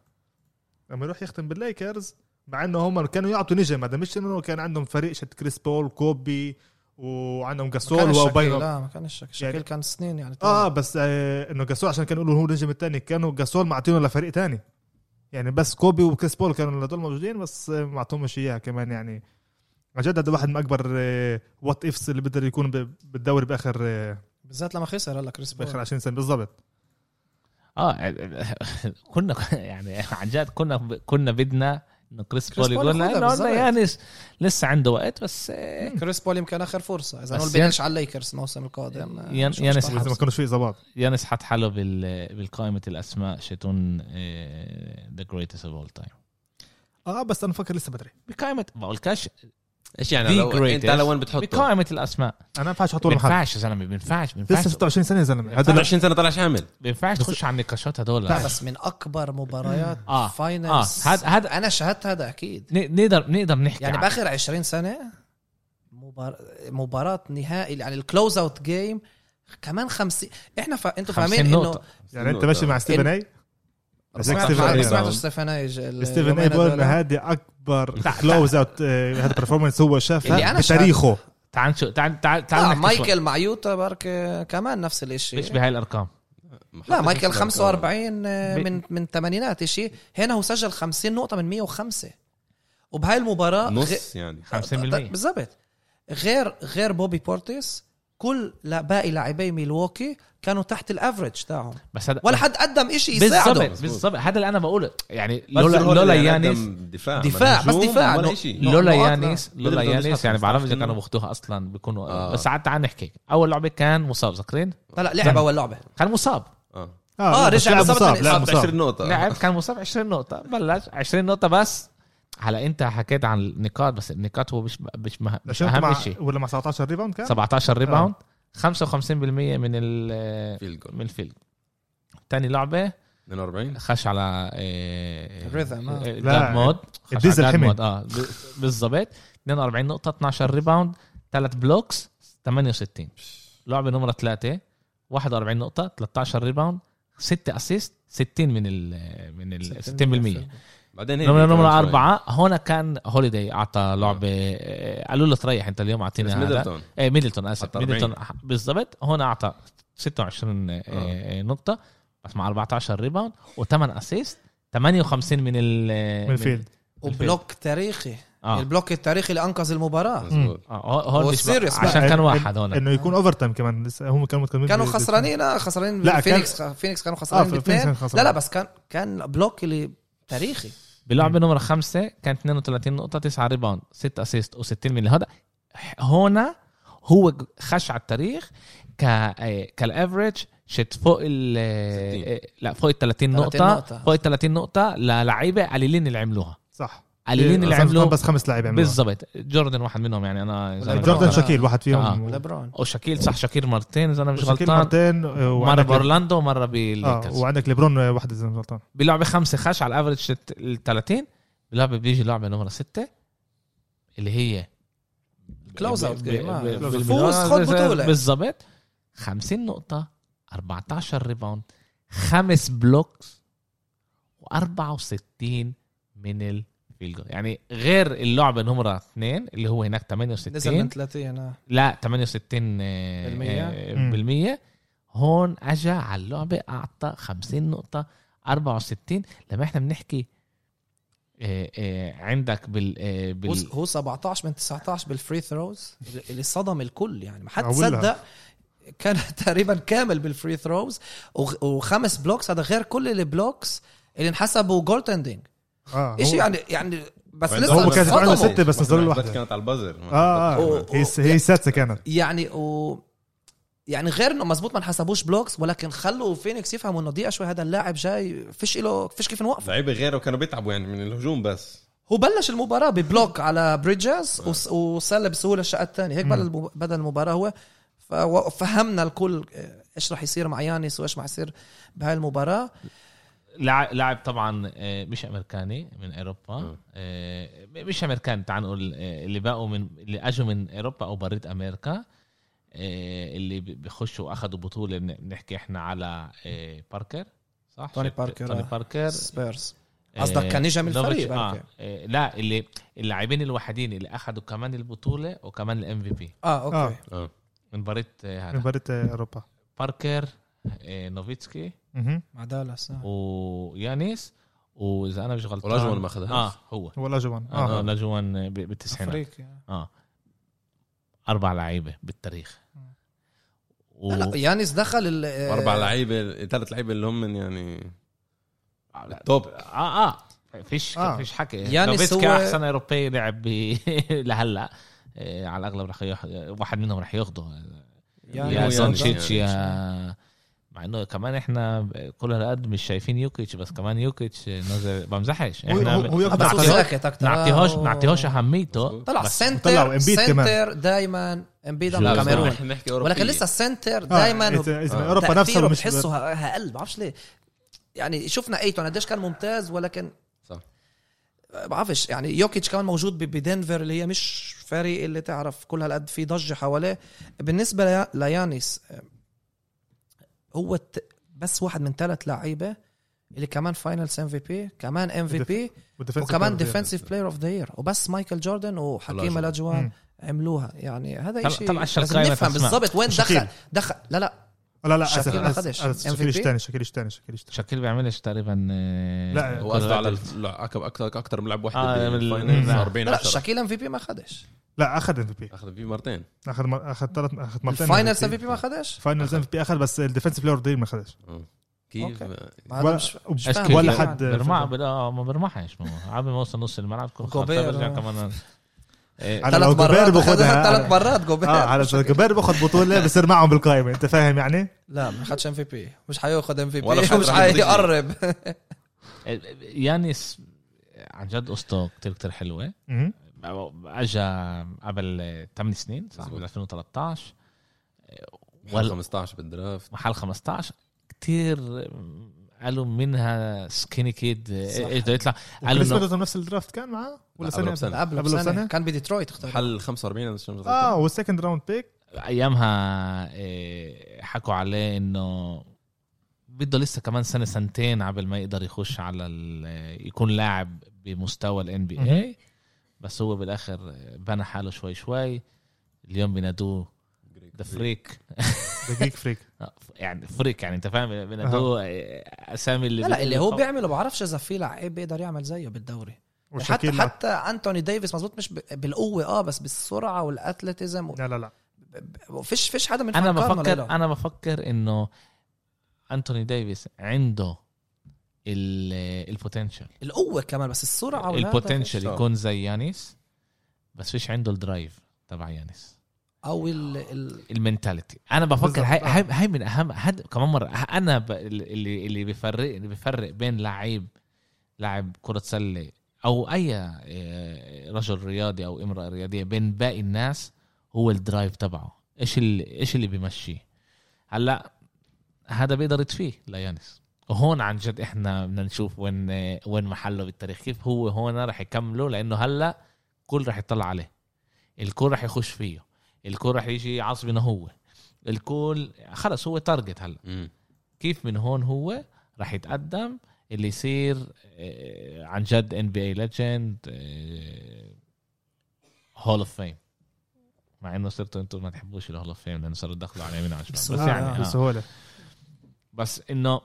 [SPEAKER 3] اما يروح يختم بالليكرز مع انه هم كانوا يعطوا نجم هذا مش انه كان عندهم فريق شت كريس بول كوبي وعندهم
[SPEAKER 4] ما
[SPEAKER 3] جاسول
[SPEAKER 4] كانش شاكيل،
[SPEAKER 3] وبينهم
[SPEAKER 4] لا ما كانش شاكيل شاكيل
[SPEAKER 3] يعني-
[SPEAKER 4] كان سنين يعني
[SPEAKER 3] اه بس آه انه جاسول عشان كانوا يقولوا هو النجم الثاني كانوا جاسول معطينه لفريق ثاني يعني بس كوبي وكريس بول كانوا هدول موجودين بس آه، ما اعطوهمش اياها كمان يعني عن جد هذا واحد من اكبر وات افس اللي بيقدر يكون ب- بالدوري باخر آه،
[SPEAKER 4] بالذات لما خسر هلا كريس
[SPEAKER 3] باخر
[SPEAKER 4] بول
[SPEAKER 3] 20 سنه بالضبط
[SPEAKER 1] اه كنا يعني عن جد كنا كنا بدنا انه كريس
[SPEAKER 4] كريس
[SPEAKER 1] بول يقول
[SPEAKER 4] بول ياخدها
[SPEAKER 1] لنا قلنا
[SPEAKER 4] بالظبط.
[SPEAKER 1] يانس لسه عنده وقت بس
[SPEAKER 4] كريس بول يمكن اخر فرصه اذا
[SPEAKER 1] بس
[SPEAKER 4] ما
[SPEAKER 1] يعني-
[SPEAKER 4] بينش على الليكرز الموسم القادم آه،
[SPEAKER 1] يعني-
[SPEAKER 4] مش
[SPEAKER 1] يعني
[SPEAKER 4] مش
[SPEAKER 3] اذا ما كانوش في اصابات
[SPEAKER 1] يانس حط حاله بال بالقائمه الاسماء شتون ذا جريتست اوف اول تايم
[SPEAKER 3] اه بس انا بفكر لسه بدري
[SPEAKER 1] بقائمه بقولكش
[SPEAKER 2] ايش يعني
[SPEAKER 1] The
[SPEAKER 2] لو انت
[SPEAKER 1] greatest.
[SPEAKER 2] على وين بتحطه؟
[SPEAKER 1] بقائمه الاسماء
[SPEAKER 3] انا ما ينفعش
[SPEAKER 1] ما
[SPEAKER 3] احطه محل
[SPEAKER 1] ينفعش يا زلمه ما ينفعش ما
[SPEAKER 3] لسه
[SPEAKER 1] ينفعش
[SPEAKER 3] 26 سنه يا زلمه هذا
[SPEAKER 2] هذا
[SPEAKER 3] لا-
[SPEAKER 2] 20 سنه طلعش عامل
[SPEAKER 1] ما ينفعش تخش على النقاشات هدول
[SPEAKER 4] لا بس من اكبر مباريات
[SPEAKER 1] آه، اه
[SPEAKER 4] فاينلز
[SPEAKER 1] هذا هذا
[SPEAKER 4] انا شاهدت هذا اكيد
[SPEAKER 1] ن- نقدر نقدر نحكي
[SPEAKER 4] يعني
[SPEAKER 1] عن-
[SPEAKER 4] باخر 20 سنه مبار... مباراه نهائي يعني الكلوز اوت جيم كمان 50 احنا ف...
[SPEAKER 1] 50
[SPEAKER 4] انتوا فاهمين انه
[SPEAKER 1] نقطة.
[SPEAKER 3] يعني انت ماشي مع ستيفن اي بس
[SPEAKER 4] سمعت-
[SPEAKER 3] ستيفن
[SPEAKER 4] ما
[SPEAKER 3] إيه.
[SPEAKER 4] سمعتش ستيفن اي ال-
[SPEAKER 3] ستيفن إيه؟ اي
[SPEAKER 4] اليومين
[SPEAKER 3] بيقول
[SPEAKER 4] هدول.
[SPEAKER 3] انه هذه اكبر كلوز اوت آه، هذا برفورمانس هو
[SPEAKER 4] اللي
[SPEAKER 3] شافها
[SPEAKER 4] أنا
[SPEAKER 3] بتاريخه
[SPEAKER 1] تعال نشوف تعال تعال تعال
[SPEAKER 4] لا
[SPEAKER 1] نحكي شوي.
[SPEAKER 4] آه، مايكل مع يوتا برك كمان نفس
[SPEAKER 1] مش
[SPEAKER 4] الاشي
[SPEAKER 1] بهاي الارقام
[SPEAKER 4] لا مايكل 45 آه، من من الثمانينات اشي هنا هو سجل 50 نقطه من 105 وبهاي المباراه غ-
[SPEAKER 2] نص يعني
[SPEAKER 1] 50%
[SPEAKER 4] بالضبط غير غير بوبي بورتيس كل لا- باقي لاعبي ميلواكي كانوا تحت الافرج تاعهم
[SPEAKER 1] بس هذا
[SPEAKER 4] ولا حد قدم إشي يساعده
[SPEAKER 1] بالضبط بالضبط هذا اللي انا بقوله يعني
[SPEAKER 2] بس
[SPEAKER 1] لولا
[SPEAKER 2] هو
[SPEAKER 1] لولا
[SPEAKER 2] اللي
[SPEAKER 1] يانس
[SPEAKER 2] قدم دفاع
[SPEAKER 4] دفاع، بس دفاع.
[SPEAKER 2] ولا
[SPEAKER 4] نو-
[SPEAKER 2] شيء
[SPEAKER 1] لولا
[SPEAKER 4] نقاط، لا.
[SPEAKER 1] يانس لولا
[SPEAKER 2] بدهم
[SPEAKER 1] يانس
[SPEAKER 2] يسحبوا
[SPEAKER 1] يعني بعرف اذا
[SPEAKER 2] خمسة.
[SPEAKER 1] كانوا بياخذوها اصلا بيكونوا
[SPEAKER 2] آه.
[SPEAKER 1] بس عاد تعال نحكي اول لعبه كان مصاب ذاكرين
[SPEAKER 4] طلع لعب اول لعبه
[SPEAKER 1] كان مصاب
[SPEAKER 2] اه
[SPEAKER 4] آه،
[SPEAKER 3] بس
[SPEAKER 4] رجع
[SPEAKER 3] لاعب
[SPEAKER 4] بالضبط
[SPEAKER 3] مصاب
[SPEAKER 4] عن
[SPEAKER 3] لاعب
[SPEAKER 4] إصابة.
[SPEAKER 3] مصاب
[SPEAKER 2] 20 نقطة
[SPEAKER 1] لعب كان مصاب 20 نقطه بلش 20 نقطه بس هلا انت حكيت عن النقاط بس النقاط هو مش مش, مه- مش
[SPEAKER 3] عشان مع
[SPEAKER 1] اهم شيء
[SPEAKER 3] ولا مع 17 ريباوند كان
[SPEAKER 1] 17
[SPEAKER 2] آه.
[SPEAKER 1] ريباوند 55% من ال
[SPEAKER 2] فيلد جول
[SPEAKER 1] من الفيلد تاني لعبه
[SPEAKER 2] 42
[SPEAKER 1] خش على إيه،
[SPEAKER 4] الريذم، آه.
[SPEAKER 1] إيه،
[SPEAKER 3] لا،
[SPEAKER 1] جاد مود خش
[SPEAKER 3] الديزل
[SPEAKER 1] على جاد
[SPEAKER 3] حمل.
[SPEAKER 1] مود، اه ب- بالظبط 42 نقطة 12 ريباوند 3 بلوكس 68 لعبة نمرة 3 41 نقطة 13 ريباوند 6 اسيست 60 من ال من ال 60%
[SPEAKER 2] بعدين هيك
[SPEAKER 1] نمرة
[SPEAKER 2] كمان
[SPEAKER 1] نمرة
[SPEAKER 2] شوي.
[SPEAKER 1] 4 هون كان هوليدي اعطى لعبة إيه، قالوا له تريح انت اليوم
[SPEAKER 2] بس
[SPEAKER 1] اعطينا هذا
[SPEAKER 2] ميدلتون
[SPEAKER 1] ايه ميدلتون اسف
[SPEAKER 2] حط 40.
[SPEAKER 1] ميدلتون بالضبط هون اعطى 26 آه. آه، نقطة بس مع 14 ريباوند و8 اسيست 58 من ال
[SPEAKER 3] من الفيلد
[SPEAKER 4] وبلوك تاريخي
[SPEAKER 1] اه
[SPEAKER 4] البلوك التاريخي اللي انقذ المباراه
[SPEAKER 2] مزبوط.
[SPEAKER 1] آه، هو- هون
[SPEAKER 4] هو
[SPEAKER 1] مش بقى-
[SPEAKER 4] serious بقى.
[SPEAKER 1] عشان كان واحد
[SPEAKER 3] هون
[SPEAKER 1] هون
[SPEAKER 3] انه يكون اوفر تايم كمان لسه هم كانوا متكلمين
[SPEAKER 4] كانوا
[SPEAKER 3] بال-
[SPEAKER 4] خسرانين آه، خسرانين
[SPEAKER 3] لا، كان-
[SPEAKER 4] فينيكس فينيكس كانوا
[SPEAKER 3] آه،
[SPEAKER 4] خسرانين
[SPEAKER 3] فينيكس
[SPEAKER 4] باثنين
[SPEAKER 3] كان خسران.
[SPEAKER 4] لا لا بس كان كان بلوك اللي تاريخي
[SPEAKER 1] بلعبة نمرة خمسة كان 32 نقطة 9 ريباوند 6 اسيست و60 من هذا هون هو خش على التاريخ ك آه، كالافرج شت فوق ال آه، لا فوق ال 30
[SPEAKER 4] 30
[SPEAKER 1] نقطة
[SPEAKER 4] نقطة.
[SPEAKER 1] فوق ال 30 نقطة للعيبة قليلين اللي عملوها
[SPEAKER 3] صح
[SPEAKER 1] قليلين اللي
[SPEAKER 3] إيه،
[SPEAKER 1] عملوه
[SPEAKER 3] بس خمس لاعب عملوا
[SPEAKER 1] بالضبط جوردن واحد منهم يعني انا إذا أنا
[SPEAKER 4] بالضبط.
[SPEAKER 3] جوردن
[SPEAKER 1] غلطان.
[SPEAKER 3] شاكيل واحد فيهم
[SPEAKER 4] ليبرون
[SPEAKER 1] وشاكيل صح شاكيل مرتين اذا انا مش
[SPEAKER 3] شاكيل
[SPEAKER 1] غلطان
[SPEAKER 3] مرتين آه،
[SPEAKER 1] مره
[SPEAKER 3] وعندك
[SPEAKER 1] باورلاندو ومره
[SPEAKER 3] اه
[SPEAKER 1] بالليكرز
[SPEAKER 3] وعندك ليبرون آه، واحد اذا مش غلطان
[SPEAKER 1] بلعبه خمسه خش على الافرج ال 30 بلعبه بيجي لعبه نمره سته اللي هي
[SPEAKER 4] Close out
[SPEAKER 1] ب-
[SPEAKER 4] game،
[SPEAKER 1] ب-
[SPEAKER 4] آه.
[SPEAKER 1] ب-
[SPEAKER 4] فوز،
[SPEAKER 1] بالبلوز-
[SPEAKER 4] خد بطولة.
[SPEAKER 1] بالظبط 50 نقطه 14 ريباوند خمس بلوكس و64 من الفيلد جول. يعني غير اللعبه نمره اثنين اللي هو هناك
[SPEAKER 4] نزل من
[SPEAKER 1] 68
[SPEAKER 4] 30 آه.
[SPEAKER 1] لا 68 آه،
[SPEAKER 4] بالمية؟
[SPEAKER 1] آه،
[SPEAKER 3] مم.
[SPEAKER 1] بالمية هون اجى على اللعبه اعطى 50 نقطه 64 لما احنا بنحكي آه، آه، عندك بال آه،
[SPEAKER 4] هو
[SPEAKER 1] بال
[SPEAKER 4] هو 17 من 19 بالفري ثروز اللي صدم الكل يعني ما حد
[SPEAKER 3] أقول لها.
[SPEAKER 4] صدق كان تقريبا كامل بالفري ثروز وغ- وخمس بلوكس هذا غير كل البلوكس اللي انحسبوا جول تندنج
[SPEAKER 3] اه
[SPEAKER 4] شيء
[SPEAKER 3] هو-
[SPEAKER 4] يعني يعني بس
[SPEAKER 2] هو
[SPEAKER 4] لسه
[SPEAKER 3] هو كان عنده
[SPEAKER 4] صدموا.
[SPEAKER 3] ستة بس آه، نزل له
[SPEAKER 2] بس
[SPEAKER 3] واحدة
[SPEAKER 2] آه. كانت على البازر
[SPEAKER 3] اه اه
[SPEAKER 4] و-
[SPEAKER 3] هي هي سادسة كانت
[SPEAKER 4] يعني و... يعني غير انه مزبوط ما انحسبوش بلوكس ولكن خلوا فينيكس يفهموا انه دقيقه شوي هذا اللاعب جاي فيش له فيش كيف نوقفه
[SPEAKER 2] لعيبه غيره كانوا بيتعبوا يعني من الهجوم بس
[SPEAKER 4] هو بلش المباراه ببلوك على بريدجز وس- وسلم بسهوله الشقه الثانيه هيك
[SPEAKER 3] آه. مم.
[SPEAKER 4] بدل بدل المباراه هو ففهمنا الكل آه، ايش راح يصير مع يانس وايش راح يصير بهاي المباراه
[SPEAKER 1] لاعب لاعب طبعا آه، مش امريكاني من اوروبا
[SPEAKER 2] م.
[SPEAKER 1] آه، مش امريكاني تعال نقول آه، اللي باقوا من اللي اجوا من اوروبا او بريت امريكا آه، اللي ب- بيخشوا واخذوا بطوله بن- بنحكي احنا على آه، باركر صح
[SPEAKER 4] توني
[SPEAKER 1] شت-
[SPEAKER 4] باركر،
[SPEAKER 1] توني
[SPEAKER 4] آه.
[SPEAKER 1] باركر
[SPEAKER 4] سبيرز
[SPEAKER 1] آه،
[SPEAKER 4] قصدك كان نجم الفريق،
[SPEAKER 1] نوفيتش-
[SPEAKER 4] باركر.
[SPEAKER 1] آه، آه، لا اللي اللاعبين الوحيدين اللي اخذوا كمان البطوله وكمان الام في بي
[SPEAKER 4] اه اوكي
[SPEAKER 3] آه.
[SPEAKER 4] آه.
[SPEAKER 2] اه
[SPEAKER 1] من بريت آه، هذا
[SPEAKER 3] مباراة اوروبا
[SPEAKER 1] باركر آه، نوفيتسكي
[SPEAKER 3] مهم.
[SPEAKER 4] مع دالاس آه.
[SPEAKER 1] ويانيس واذا انا مش غلطان
[SPEAKER 2] ولاجوان ما أخدهاش.
[SPEAKER 1] اه هو
[SPEAKER 3] هو الاجوان
[SPEAKER 1] اه
[SPEAKER 4] آه.
[SPEAKER 3] اه
[SPEAKER 1] لاجوان ب- بالتسعينات
[SPEAKER 4] افريقيا
[SPEAKER 1] اه اربع لعيبه بالتاريخ و...
[SPEAKER 4] لا لا يانس دخل ال- آه،
[SPEAKER 2] اربع لعيبه ثلاث لعيبه اللي هم من يعني
[SPEAKER 1] لا.
[SPEAKER 2] توب
[SPEAKER 1] اه اه فيش
[SPEAKER 3] آه.
[SPEAKER 1] آه. فيش حكي
[SPEAKER 4] يانس
[SPEAKER 1] يانس
[SPEAKER 4] هو-
[SPEAKER 1] احسن اوروبي لعب ب- لهلا آه، على الاغلب رح ياخ... واحد منهم رح ياخده
[SPEAKER 4] يعني
[SPEAKER 1] يا
[SPEAKER 2] هو
[SPEAKER 1] سانشيتش
[SPEAKER 2] يعني.
[SPEAKER 1] يا مع انه كمان احنا كل هالقد مش شايفين يوكيتش بس كمان يوكيتش نازل بمزحش
[SPEAKER 3] هو-
[SPEAKER 1] احنا
[SPEAKER 3] هو- هو ياخد
[SPEAKER 1] ما
[SPEAKER 4] آه، بس هو
[SPEAKER 1] بنعطيهوش-
[SPEAKER 4] ساكت اكتر
[SPEAKER 1] نعطيهوش
[SPEAKER 4] آه.
[SPEAKER 1] نعطيهوش اهميته
[SPEAKER 4] طلع
[SPEAKER 1] بس-
[SPEAKER 4] السنتر
[SPEAKER 3] وطلعوا إمبيد كمان.
[SPEAKER 4] السنتر دايما امبيد
[SPEAKER 1] لا،
[SPEAKER 4] على الكاميرون
[SPEAKER 2] نحن نحكي أوروبية.
[SPEAKER 4] ولكن لسه السنتر
[SPEAKER 3] آه،
[SPEAKER 4] دايما
[SPEAKER 3] إذا- إذا
[SPEAKER 2] آه.
[SPEAKER 3] اوروبا نفسها مش
[SPEAKER 4] بتحسه اقل بعرفش ليه يعني شفنا ايتون قديش كان ممتاز ولكن
[SPEAKER 2] صح
[SPEAKER 4] بعرفش يعني يوكيتش كمان موجود ب- بدنفر اللي هي مش فريق اللي تعرف كل هالقد في ضجه حواليه بالنسبه ليا- ليانيس هو الت- بس واحد من ثلاث لعيبه اللي كمان فاينلز ام في بي كمان ام في بي
[SPEAKER 3] والديفنسيف
[SPEAKER 4] وكمان
[SPEAKER 3] بلاير بدي-
[SPEAKER 4] ديفنسيف بلاير اوف ذا يير وبس مايكل جوردن وحكيم
[SPEAKER 2] الله
[SPEAKER 4] الاجوان
[SPEAKER 3] مم.
[SPEAKER 4] عملوها يعني هذا
[SPEAKER 1] طلع-
[SPEAKER 4] شيء
[SPEAKER 1] طلع الشرقاية
[SPEAKER 4] لازم نفهم
[SPEAKER 1] تسمع.
[SPEAKER 4] بالضبط وين
[SPEAKER 3] شقيق.
[SPEAKER 4] دخل دخل لا لا
[SPEAKER 3] آه، لا لا
[SPEAKER 4] شاكيل ما خدش.
[SPEAKER 3] اسف
[SPEAKER 4] MVP.
[SPEAKER 3] شكلش تاني شكلش تاني شكلش تاني
[SPEAKER 1] شاكيل بيعملش تقريبا آه،
[SPEAKER 3] لا،
[SPEAKER 2] هو قصده على
[SPEAKER 1] كل-
[SPEAKER 2] اكثر اكثر اكثر ملعب واحد
[SPEAKER 1] آه، من ال-
[SPEAKER 2] بالفاينلز
[SPEAKER 1] لا.
[SPEAKER 2] 40
[SPEAKER 4] لا
[SPEAKER 2] 10
[SPEAKER 4] شاكيل ام في بي ما خدش
[SPEAKER 3] لا اخذ ام في بي
[SPEAKER 2] اخذ فيه مرتين
[SPEAKER 3] اخذ مر- اخذ ثلاث اخذ مرتين يعني
[SPEAKER 4] الفاينلز ام في بي ما خدش
[SPEAKER 3] فاينلز ام في بي اخذ بس الديفنسيف بلاير اوف ذا يير ما اخذش
[SPEAKER 2] آه. كيف
[SPEAKER 4] ما هذا
[SPEAKER 3] ولا
[SPEAKER 4] مش مش
[SPEAKER 1] أشكي
[SPEAKER 4] فاهم.
[SPEAKER 3] ولا
[SPEAKER 1] بي-
[SPEAKER 3] حد-
[SPEAKER 1] برمع بلا- آه، ما برمحش ما هو. عم بوصل نص الملعب كل خطة
[SPEAKER 4] كوبير،
[SPEAKER 1] برجع
[SPEAKER 4] آه.
[SPEAKER 1] كمان آه،
[SPEAKER 3] على
[SPEAKER 4] ثلاث
[SPEAKER 3] لو جوبير
[SPEAKER 4] إيه. مرات
[SPEAKER 3] باخذها
[SPEAKER 4] ثلاث مرات جوبير
[SPEAKER 3] اه على جوبير باخذ بطوله بصير معهم بالقائمه انت فاهم يعني؟
[SPEAKER 4] لا ما خدش ام في بي مش حياخد ام في بي
[SPEAKER 2] ولا
[SPEAKER 4] مش
[SPEAKER 2] حد راح يضيع.
[SPEAKER 4] حيقرب
[SPEAKER 1] آه، يانس عن جد قصته كتير كتير حلوه
[SPEAKER 3] مهم.
[SPEAKER 1] اجا قبل 8 سنين صح
[SPEAKER 2] مظبوط.
[SPEAKER 1] بال 2013
[SPEAKER 2] ولا
[SPEAKER 1] ولا
[SPEAKER 2] 15 بالدرافت
[SPEAKER 1] محل 15 كتير قالوا منها سكيني كيد
[SPEAKER 4] صح.
[SPEAKER 1] ايش بده إيه، يطلع قالوا
[SPEAKER 3] بالنسبه
[SPEAKER 1] إنه-
[SPEAKER 3] له نفس الدرافت كان معاه ولا
[SPEAKER 2] لا،
[SPEAKER 3] سنه قبل؟
[SPEAKER 2] قبله بسنة.
[SPEAKER 4] قبل
[SPEAKER 3] قبل
[SPEAKER 4] بسنه
[SPEAKER 3] بسنة؟
[SPEAKER 4] كان بديترويت اختار
[SPEAKER 2] حل 45 اذا مش غلطان
[SPEAKER 3] اه والسكند راوند بيك
[SPEAKER 1] ايامها إيه، حكوا عليه انه بده لسه كمان سنه سنتين قبل ما يقدر يخش على ال- يكون لاعب بمستوى الان بي اي بس هو بالاخر بنى حاله شوي شوي اليوم بينادوه ذا فريك
[SPEAKER 3] دقيق فريك
[SPEAKER 1] آه، يعني فريك يعني انت فاهم بينادوه اسامي اللي
[SPEAKER 4] لا لا اللي هو
[SPEAKER 1] بيقولوا-
[SPEAKER 4] بيعمله بعرفش اذا في لعيب بيقدر يعمل زيه بالدوري حتى
[SPEAKER 3] وشاكيل
[SPEAKER 4] حتى انتوني ديفيس مزبوط مش ب- بالقوه اه بس بالسرعه والاتلتيزم و-
[SPEAKER 3] لا لا لا
[SPEAKER 4] ب- فيش فيش حدا من
[SPEAKER 1] انا
[SPEAKER 4] فكرنا
[SPEAKER 1] بفكر
[SPEAKER 4] لإله.
[SPEAKER 1] انا بفكر انه انتوني ديفيس عنده ال- البوتنشال
[SPEAKER 4] القوه كمان بس السرعه والهذا
[SPEAKER 1] البوتنشال
[SPEAKER 2] فيش.
[SPEAKER 1] يكون زي يانيس بس فيش عنده الدرايف تبع يانيس
[SPEAKER 4] او ال ال
[SPEAKER 1] المنتاليتي انا بفكر
[SPEAKER 3] بالظبط،
[SPEAKER 1] هاي,
[SPEAKER 3] آه.
[SPEAKER 1] هاي, هاي من اهم هاد كمان مره انا ب... اللي اللي بيفرق اللي بيفرق بين لعيب لاعب كره سله او اي آه، رجل رياضي او امراه رياضيه بين باقي الناس هو الدرايف تبعه ايش اللي ايش اللي بيمشيه هلا هذا بيقدر يطفيه ليانس وهون عن جد احنا بدنا نشوف وين آه، وين محله بالتاريخ كيف هو هون رح يكمله لانه هلا كل رح يطلع عليه الكل رح يخش فيه الكل رح يجي عصبنا هو الكل خلص هو تارجت هلا
[SPEAKER 2] مم.
[SPEAKER 1] كيف من هون هو رح يتقدم اللي يصير آه، عن جد ان بي اي ليجند آه، هول اوف فيم مع انه صرتوا انتم ما تحبوش الهول اوف فيم لانه صاروا دخلوا على يمين على شمال
[SPEAKER 4] بسهولة.
[SPEAKER 1] بس يعني آه.
[SPEAKER 3] بسهوله
[SPEAKER 1] بس انه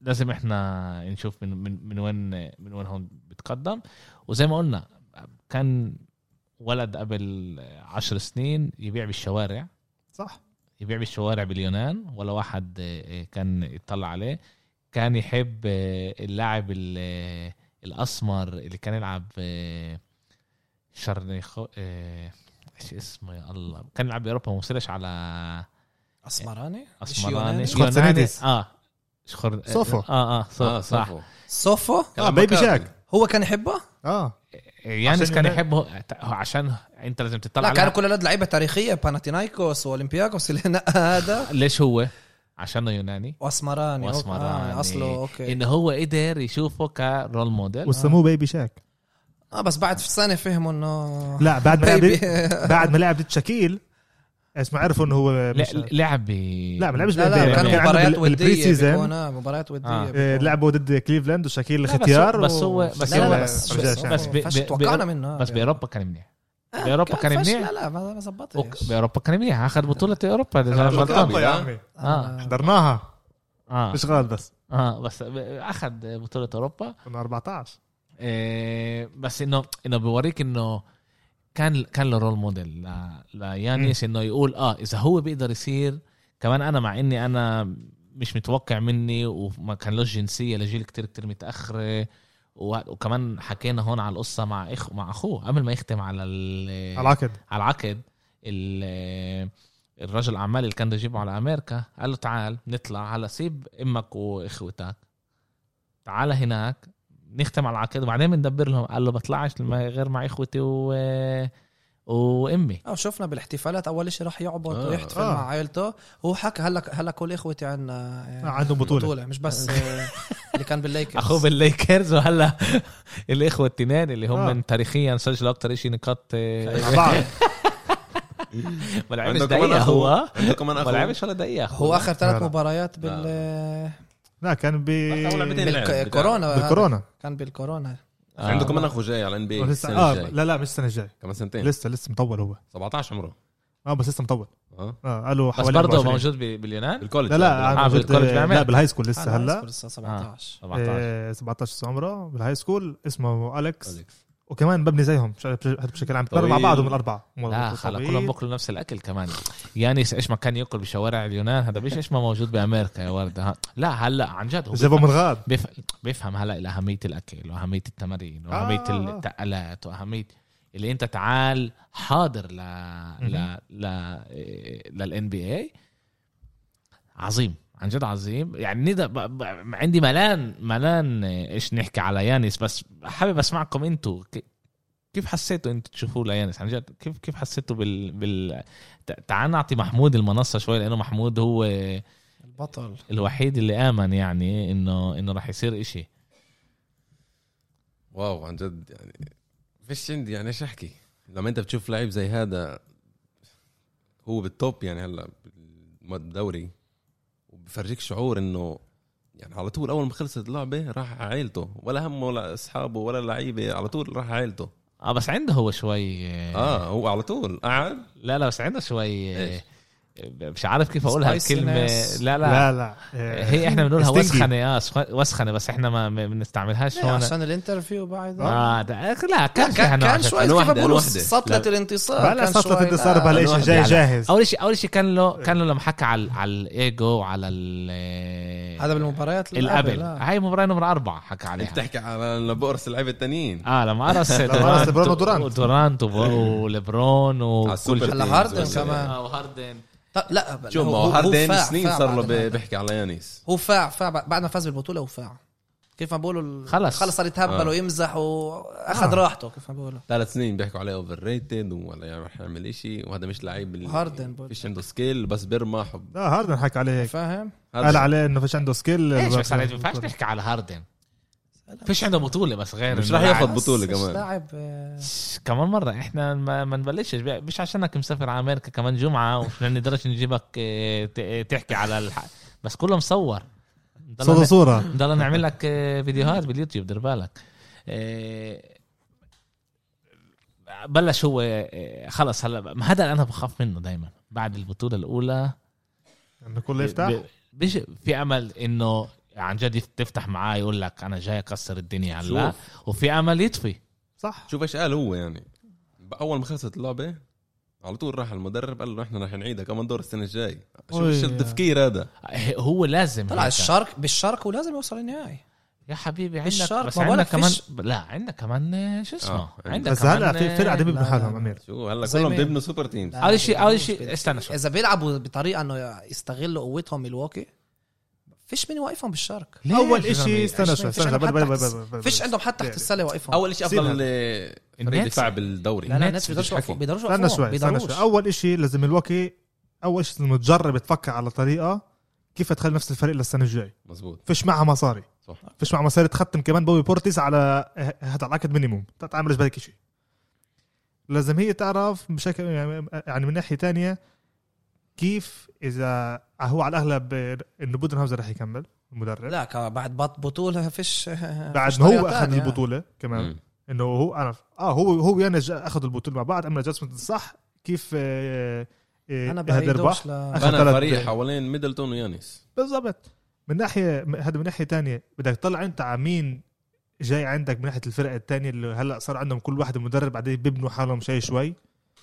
[SPEAKER 1] لازم احنا نشوف من من من وين من وين هون بتقدم وزي ما قلنا كان ولد قبل عشر سنين يبيع بالشوارع
[SPEAKER 3] صح
[SPEAKER 1] يبيع بالشوارع باليونان ولا واحد آه، آه، كان يطلع عليه كان يحب آه، اللاعب ال- آه، الاسمر اللي كان يلعب آه، شرنيخو آه، ايش اسمه يا الله كان يلعب باوروبا وصلش على
[SPEAKER 4] اسمراني مش
[SPEAKER 1] اسمراني
[SPEAKER 4] يوناني؟
[SPEAKER 3] شخورتسانيدس.
[SPEAKER 1] اه شخور
[SPEAKER 3] صوفو.
[SPEAKER 1] اه اه صوفو
[SPEAKER 2] اه
[SPEAKER 1] صح
[SPEAKER 2] صفو
[SPEAKER 4] صوفو
[SPEAKER 3] اه بيبي شاك
[SPEAKER 4] هو كان يحبه؟
[SPEAKER 3] اه
[SPEAKER 1] يانس
[SPEAKER 3] عشان
[SPEAKER 1] كان
[SPEAKER 3] يونان-
[SPEAKER 1] يحبه عشان انت لازم تطلع
[SPEAKER 4] لا
[SPEAKER 1] على
[SPEAKER 4] كانوا كل الاولاد لعيبه تاريخيه باناتينايكوس واولمبياكوس اللي آه، نقى هذا
[SPEAKER 1] ليش هو عشانه يوناني
[SPEAKER 4] واسمراني أوكي.
[SPEAKER 1] وأسمراني.
[SPEAKER 4] آه اصله اوكي
[SPEAKER 1] ان هو قدر يشوفه كرول موديل
[SPEAKER 3] وسموه بيبي شاك
[SPEAKER 4] اه بس بعد في سنه فهموا انه
[SPEAKER 3] لا بعد ما
[SPEAKER 4] بيبي.
[SPEAKER 3] لعب بعد ما لعب ضد شاكيل اسمه عرفوا انه هو مش
[SPEAKER 1] ل- لعب ب-
[SPEAKER 3] لا ما لعبش
[SPEAKER 4] لا
[SPEAKER 3] بال-
[SPEAKER 4] لا
[SPEAKER 1] كان
[SPEAKER 4] كانوا
[SPEAKER 3] عنده
[SPEAKER 4] مباريات
[SPEAKER 3] بال- بالبري
[SPEAKER 4] وديه
[SPEAKER 3] سيزون.
[SPEAKER 4] بيكون، آه مباريات
[SPEAKER 1] آه.
[SPEAKER 4] وديه
[SPEAKER 3] آه،
[SPEAKER 4] بيكون.
[SPEAKER 3] لعبوا ضد كليفلاند وشاكيل
[SPEAKER 1] بس هو-
[SPEAKER 3] اختيار
[SPEAKER 1] بس هو-
[SPEAKER 3] وشاكيل
[SPEAKER 1] بس
[SPEAKER 4] لا لا لا
[SPEAKER 1] هو-
[SPEAKER 4] بس
[SPEAKER 3] رجع
[SPEAKER 1] بس-
[SPEAKER 3] شاك.
[SPEAKER 1] بس
[SPEAKER 4] بس
[SPEAKER 1] ب- ب-
[SPEAKER 4] توقعنا منه
[SPEAKER 3] آه.
[SPEAKER 1] بس باوروبا كان منيح باوروبا كان منيح
[SPEAKER 4] لا لا ما ما زبطش
[SPEAKER 1] وك- باوروبا كان منيح اخذ بطوله اوروبا اذا أنا مش غلطان
[SPEAKER 3] أوروبا يا عمي
[SPEAKER 1] آه.
[SPEAKER 3] حضرناها
[SPEAKER 1] اه
[SPEAKER 3] اشغال بس
[SPEAKER 1] اه بس ب- اخذ بطوله اوروبا
[SPEAKER 3] كنا 14
[SPEAKER 1] إيه بس انه انه بوريك انه كان كان له رول موديل ل- ليانيس انه يقول اه اذا هو بيقدر يصير كمان انا مع اني انا مش متوقع مني وما كان له جنسيه لجيل كتير كتير متاخر و- وكمان حكينا هون على القصه مع اخ مع اخوه قبل ما يختم على ال-
[SPEAKER 3] العقد
[SPEAKER 1] على العقد ال- الرجل اعمال اللي كان بده يجيبه على امريكا قال له تعال نطلع هلا سيب امك واخوتك تعال هناك نختم على العقد وبعدين بندبر لهم قال له بطلعش لما- غير مع اخوتي و... وامي
[SPEAKER 4] اه شفنا بالاحتفالات اول شيء راح يعبط
[SPEAKER 2] آه.
[SPEAKER 4] ويحتفل
[SPEAKER 3] آه.
[SPEAKER 4] مع عائلته هو حكى هلا هلا كل اخوتي عندنا
[SPEAKER 3] آه، عندهم بطولة.
[SPEAKER 4] بطوله مش بس آه، اللي كان بالليكرز
[SPEAKER 1] اخوه بالليكرز وهلا الاخوه التنين اللي هم
[SPEAKER 3] آه.
[SPEAKER 1] آه. تاريخيا سجلوا اكثر شيء نقاط آه،
[SPEAKER 3] مع بعض
[SPEAKER 1] ما لعبش
[SPEAKER 2] عنده كمان
[SPEAKER 1] دقيقه
[SPEAKER 2] أخو.
[SPEAKER 1] هو
[SPEAKER 2] عنده كمان
[SPEAKER 1] ما
[SPEAKER 2] اخو
[SPEAKER 1] لعبش ولا دقيقه أخوه.
[SPEAKER 4] هو اخر ثلاث
[SPEAKER 3] لا.
[SPEAKER 4] مباريات بال
[SPEAKER 3] لا كان ب
[SPEAKER 2] أول لعبتين لعب بتاع-
[SPEAKER 4] بالكورونا
[SPEAKER 3] بالكورونا
[SPEAKER 4] كان بالكورونا
[SPEAKER 1] آه.
[SPEAKER 2] عنده كمان اخو إيه، جاي إيه. على الان بي
[SPEAKER 3] ولسه-
[SPEAKER 2] السنه
[SPEAKER 3] اه
[SPEAKER 2] الجايه
[SPEAKER 3] لا لا مش السنه الجايه
[SPEAKER 2] كمان سنتين
[SPEAKER 3] لسه لسه مطول هو
[SPEAKER 2] 17 عمره
[SPEAKER 3] اه بس لسه مطول
[SPEAKER 2] اه
[SPEAKER 3] اه قالوا
[SPEAKER 1] بس
[SPEAKER 3] حوالي
[SPEAKER 1] برضه
[SPEAKER 3] 24.
[SPEAKER 1] موجود ب- باليونان
[SPEAKER 2] بالكولج
[SPEAKER 3] لا لا
[SPEAKER 1] آه،
[SPEAKER 3] عم جد-
[SPEAKER 1] بالكولج بيعمل.
[SPEAKER 3] لا بالهاي سكول
[SPEAKER 4] آه،
[SPEAKER 3] لسه
[SPEAKER 4] لا،
[SPEAKER 3] هلا
[SPEAKER 4] لسه 17
[SPEAKER 1] 17
[SPEAKER 3] آه، 17 سنه عمره بالهاي سكول اسمه اليكس
[SPEAKER 2] أليكس.
[SPEAKER 3] وكمان ببني زيهم بش- بشكل عام بتمرن مع
[SPEAKER 2] طويل.
[SPEAKER 3] بعضهم الاربعه
[SPEAKER 1] لا خلا كلهم بياكلوا نفس الاكل كمان يانيس ايش ما كان ياكل بشوارع اليونان هذا مش ايش ما موجود بامريكا يا ورده ها. لا هلا عن جد هو
[SPEAKER 3] جابوا
[SPEAKER 1] بيفهم-
[SPEAKER 3] من غاد
[SPEAKER 1] بيفهم, بيفهم هلا إلى اهميه الاكل واهميه التمارين واهميه
[SPEAKER 3] آه.
[SPEAKER 1] آه. التقلات واهميه اللي انت تعال حاضر ل ل ل للان بي اي عظيم عن جد عظيم يعني ندى ب- ب- عندي ملان ملان ايش نحكي على يانس بس حابب اسمعكم انتوا ك- كيف حسيتوا انتوا تشوفوه ليانس عن جد كيف كيف حسيتوا بال بال تع- تعال نعطي محمود المنصه شوي لانه محمود هو
[SPEAKER 4] البطل
[SPEAKER 1] الوحيد اللي امن يعني انه انه راح يصير إشي
[SPEAKER 2] واو عن جد يعني فيش عندي يعني ايش احكي لما انت بتشوف لعيب زي هذا هو بالتوب يعني هلا بالدوري وبفرجيك شعور انه يعني على طول اول ما خلصت اللعبه راح على عائلته ولا همه ولا اصحابه ولا لعيبه على طول راح على عائلته
[SPEAKER 1] اه بس عنده هو شوي آه،
[SPEAKER 2] اه هو على طول قاعد
[SPEAKER 1] لا لا بس عنده شوي آه،
[SPEAKER 2] إيش؟
[SPEAKER 1] مش عارف كيف اقولها الكلمه
[SPEAKER 4] Spiciness.
[SPEAKER 1] لا لا
[SPEAKER 3] لا لا آه،
[SPEAKER 1] هي احنا بنقولها
[SPEAKER 3] stinky.
[SPEAKER 1] وسخنه اه سخ- وسخنه بس احنا ما ما بنستعملهاش
[SPEAKER 4] ليه؟
[SPEAKER 1] هون
[SPEAKER 4] عشان الانترفيو بعد
[SPEAKER 1] اه ده لا كان فيها
[SPEAKER 4] كان
[SPEAKER 1] نوع
[SPEAKER 4] كان
[SPEAKER 1] عشان-
[SPEAKER 4] شوي
[SPEAKER 2] عن
[SPEAKER 4] كيف
[SPEAKER 2] واحدة، عن
[SPEAKER 4] بقولوا
[SPEAKER 2] واحدة.
[SPEAKER 4] سطلة الانتصار
[SPEAKER 3] لا لا
[SPEAKER 4] آه، كان
[SPEAKER 3] صفرة
[SPEAKER 4] شوي-
[SPEAKER 3] الانتصار
[SPEAKER 4] لا.
[SPEAKER 3] بهالإشي
[SPEAKER 2] أنا
[SPEAKER 3] جاي
[SPEAKER 2] واحد
[SPEAKER 3] جاهز
[SPEAKER 1] اول شيء اول شيء كان له كان له لما حكى على على الايجو وعلى ال
[SPEAKER 4] هذا بالمباريات اللي
[SPEAKER 1] الابل
[SPEAKER 4] قبل، آه.
[SPEAKER 1] هاي مباراه نمرة أربعة حكى
[SPEAKER 2] انت
[SPEAKER 1] عليها
[SPEAKER 2] بتحكي على لما بقرص اللعيبه التانيين
[SPEAKER 1] اه لما قرص
[SPEAKER 3] قرص لبرون ودورانت.
[SPEAKER 1] ودورانت وب- ولبرون
[SPEAKER 2] على
[SPEAKER 1] وكل
[SPEAKER 2] السوبر
[SPEAKER 1] شيء.
[SPEAKER 4] هلا
[SPEAKER 2] تيمز
[SPEAKER 4] هاردن
[SPEAKER 2] وال-
[SPEAKER 4] كمان.
[SPEAKER 1] آه، وهاردن
[SPEAKER 4] طب لا بل-
[SPEAKER 2] شوف
[SPEAKER 4] هو-
[SPEAKER 2] ما هو
[SPEAKER 4] هو- هو
[SPEAKER 2] هاردن
[SPEAKER 4] فاع-
[SPEAKER 2] سنين
[SPEAKER 4] فاع
[SPEAKER 2] صار
[SPEAKER 4] بعد
[SPEAKER 2] له
[SPEAKER 4] ما-
[SPEAKER 2] ب- بيحكي على يانيس
[SPEAKER 4] هو فاع فاع بعد بعد ما فاز بالبطوله هو فاع كيف ما بقولوا ال-
[SPEAKER 1] خلص.
[SPEAKER 4] خلص صار يتهبل
[SPEAKER 2] آه.
[SPEAKER 4] ويمزح واخذ
[SPEAKER 3] آه.
[SPEAKER 4] راحته كيف ما بقولوا
[SPEAKER 2] ثلاث سنين بيحكوا عليه اوفر ريتد ولا راح يعمل شيء وهذا مش لعيب اللي-
[SPEAKER 4] هاردن بقول.
[SPEAKER 2] فيش عنده سكيل بس بيرمح وب-
[SPEAKER 3] لا هاردن حكى عليه هيك
[SPEAKER 4] فاهم؟
[SPEAKER 3] قال
[SPEAKER 2] هذا
[SPEAKER 3] عليه انه فيش عنده سكيل
[SPEAKER 1] ايش بس على- ما ينفعش نحكي على هاردن فيش عنده بطوله بس غير
[SPEAKER 2] مش
[SPEAKER 1] إنه
[SPEAKER 2] راح ياخد
[SPEAKER 1] لاعب.
[SPEAKER 2] بطولة. بطولة
[SPEAKER 4] بس
[SPEAKER 2] كمان.
[SPEAKER 4] لاعب آه،
[SPEAKER 1] كمان مره احنا ما, ما نبلشش مش عشانك مسافر على امريكا كمان جمعه وما نقدرش نجيبك آه، ت- آه، تحكي على الح... بس كله مصور ضلنا-
[SPEAKER 3] صورة صورة
[SPEAKER 1] ضلنا نعمل لك آه، فيديوهات باليوتيوب دير بالك آه، بلش هو آه، خلص هلا ما هذا اللي انا بخاف منه دائما بعد البطوله الاولى
[SPEAKER 3] انه كله
[SPEAKER 1] ب-
[SPEAKER 3] يفتح
[SPEAKER 1] بيش في امل انه عن جد يف- تفتح معاه يقول لك انا جاي اكسر الدنيا هلا وفي امل يطفي
[SPEAKER 3] صح
[SPEAKER 2] شوف ايش قال هو يعني اول ما خلصت اللعبه على طول راح المدرب قال له احنا رح نعيدها كمان دور السنه الجاي شوف
[SPEAKER 3] أوي.
[SPEAKER 2] ايش التفكير هذا
[SPEAKER 1] هو لازم
[SPEAKER 4] طلع
[SPEAKER 1] هيك.
[SPEAKER 4] الشرق بالشرق ولازم يوصل النهائي
[SPEAKER 1] يا حبيبي
[SPEAKER 4] مش
[SPEAKER 1] عندك
[SPEAKER 4] شرط،
[SPEAKER 1] بس
[SPEAKER 4] ما
[SPEAKER 1] عندك
[SPEAKER 4] بقولك
[SPEAKER 1] كمان
[SPEAKER 4] فيش-
[SPEAKER 1] لا عندك كمان آه، شو اسمه
[SPEAKER 2] آه، عندك.
[SPEAKER 1] عندك
[SPEAKER 3] بس
[SPEAKER 1] كمان
[SPEAKER 3] هلا في فرقه دبت
[SPEAKER 4] لا، لا،
[SPEAKER 3] بحالهم
[SPEAKER 4] لا.
[SPEAKER 3] امير
[SPEAKER 2] شو هلا
[SPEAKER 4] زي
[SPEAKER 2] كلهم
[SPEAKER 4] مين؟
[SPEAKER 2] بيبنوا سوبر تيمز
[SPEAKER 4] لا،
[SPEAKER 1] أول شيء-
[SPEAKER 4] بيلعبوش
[SPEAKER 1] أول شيء-
[SPEAKER 4] بال-
[SPEAKER 1] استنى شوي.
[SPEAKER 4] اذا بيلعبوا بطريقه انه يستغلوا قوتهم ملواكي فيش من واقفهم بالشرق
[SPEAKER 1] ليش
[SPEAKER 3] اول
[SPEAKER 1] يا
[SPEAKER 3] إشي
[SPEAKER 1] زلمة؟
[SPEAKER 3] استنى
[SPEAKER 4] عشان
[SPEAKER 3] شوي
[SPEAKER 4] ما فيش
[SPEAKER 3] استنى
[SPEAKER 4] عندهم
[SPEAKER 3] بل- بل-
[SPEAKER 4] حد
[SPEAKER 3] بل-
[SPEAKER 4] تحت-
[SPEAKER 3] بل- بل-
[SPEAKER 4] فيش عندهم حد تحت السله واقفهم
[SPEAKER 2] اول شيء
[SPEAKER 3] سيبها.
[SPEAKER 2] افضل آه، فريق
[SPEAKER 1] النتس.
[SPEAKER 2] دفاع بالدوري
[SPEAKER 4] لا لا
[SPEAKER 1] النتس
[SPEAKER 4] النتس
[SPEAKER 2] بدوش
[SPEAKER 4] بيقدروش
[SPEAKER 2] حكي.
[SPEAKER 4] يوقفوا بيقدروش
[SPEAKER 3] استنى
[SPEAKER 4] يوقفوهم
[SPEAKER 3] شوي استنى شوي
[SPEAKER 4] بيقدروش
[SPEAKER 3] اول شيء لازم ملواكي اول شيء لازم تجرب تفكر على طريقه كيف تخلي نفس الفريق للسنه الجاي
[SPEAKER 2] مزبوط
[SPEAKER 3] فيش معها مصاري
[SPEAKER 2] صح
[SPEAKER 3] فيش معها مصاري تختم كمان بوبي بورتيس على هذا العقد مينيموم تعملش بالك شيء لازم هي تعرف بشكل يعني من ناحيه تانية كيف اذا هو على الاغلب انه بودنهاوزر رح يكمل المدرب
[SPEAKER 4] لا ك- بعد بط بطوله فيش
[SPEAKER 3] بعد
[SPEAKER 4] فيش
[SPEAKER 3] ما هو
[SPEAKER 4] طريقة
[SPEAKER 3] اخذ
[SPEAKER 4] تانية.
[SPEAKER 3] البطوله كمان
[SPEAKER 2] مم.
[SPEAKER 3] انه هو عرف اه هو هو ويانج اخذوا البطوله مع بعض عمل ادجستمنت صح كيف آه، آه،
[SPEAKER 4] انا
[SPEAKER 3] هذا ربح
[SPEAKER 4] بعيدوش ل...
[SPEAKER 3] أخذ
[SPEAKER 2] بنى
[SPEAKER 3] ثلاث-
[SPEAKER 2] فريق حوالين ميدلتون ويانيس
[SPEAKER 3] بالضبط من ناحيه هذا من ناحيه تانية بدك تطلع انت على مين جاي عندك من ناحيه الفرق التانية اللي هلا صار عندهم كل واحد مدرب بعدين بيبنوا حالهم شوي شوي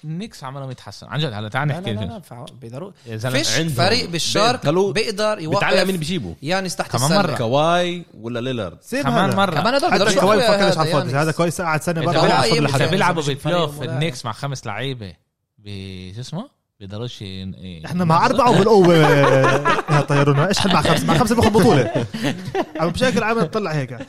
[SPEAKER 1] النكس عمالهم يتحسن عن جد هلا تعال
[SPEAKER 4] لا لا
[SPEAKER 1] نحكي
[SPEAKER 4] لا,
[SPEAKER 1] الفينش.
[SPEAKER 4] لا فع- بيقدروا
[SPEAKER 1] يا زلمة،
[SPEAKER 4] فيش
[SPEAKER 2] عندهم
[SPEAKER 4] فريق بالشرق
[SPEAKER 2] بيقدروا-
[SPEAKER 4] بيقدر
[SPEAKER 2] بتعلق مين
[SPEAKER 4] يوقف
[SPEAKER 2] بيجيبه
[SPEAKER 4] يانس تحت
[SPEAKER 1] كمان
[SPEAKER 4] السله
[SPEAKER 1] مرة.
[SPEAKER 2] كواي ولا ليلارد
[SPEAKER 3] سيب
[SPEAKER 1] كمان
[SPEAKER 3] هذا.
[SPEAKER 1] مره
[SPEAKER 4] كمان هدول
[SPEAKER 3] حتى
[SPEAKER 4] بيقدروا
[SPEAKER 3] كواي
[SPEAKER 4] يوقفوا
[SPEAKER 3] فكرش على
[SPEAKER 4] هذا
[SPEAKER 3] الفاضي هذا
[SPEAKER 4] يانس.
[SPEAKER 3] كويس قعد سنه
[SPEAKER 1] اذا
[SPEAKER 4] برضه
[SPEAKER 3] بعد
[SPEAKER 4] هو
[SPEAKER 1] بيلعبوا-
[SPEAKER 3] عصب
[SPEAKER 4] أي
[SPEAKER 1] إذا
[SPEAKER 4] مش فريق
[SPEAKER 3] لحدا
[SPEAKER 1] بيلعبوا
[SPEAKER 4] مش فريق
[SPEAKER 1] ببلاي اوف
[SPEAKER 4] ولا-
[SPEAKER 1] النكس مع خمس لعيبه ب- شو اسمه بيقدروش ين- إيه.
[SPEAKER 3] احنا مع اربعه وبالقوه يا طيرونا ايش حل مع خمسه مع خمسه باخذ بطوله عم بشكل عام نطلع هيك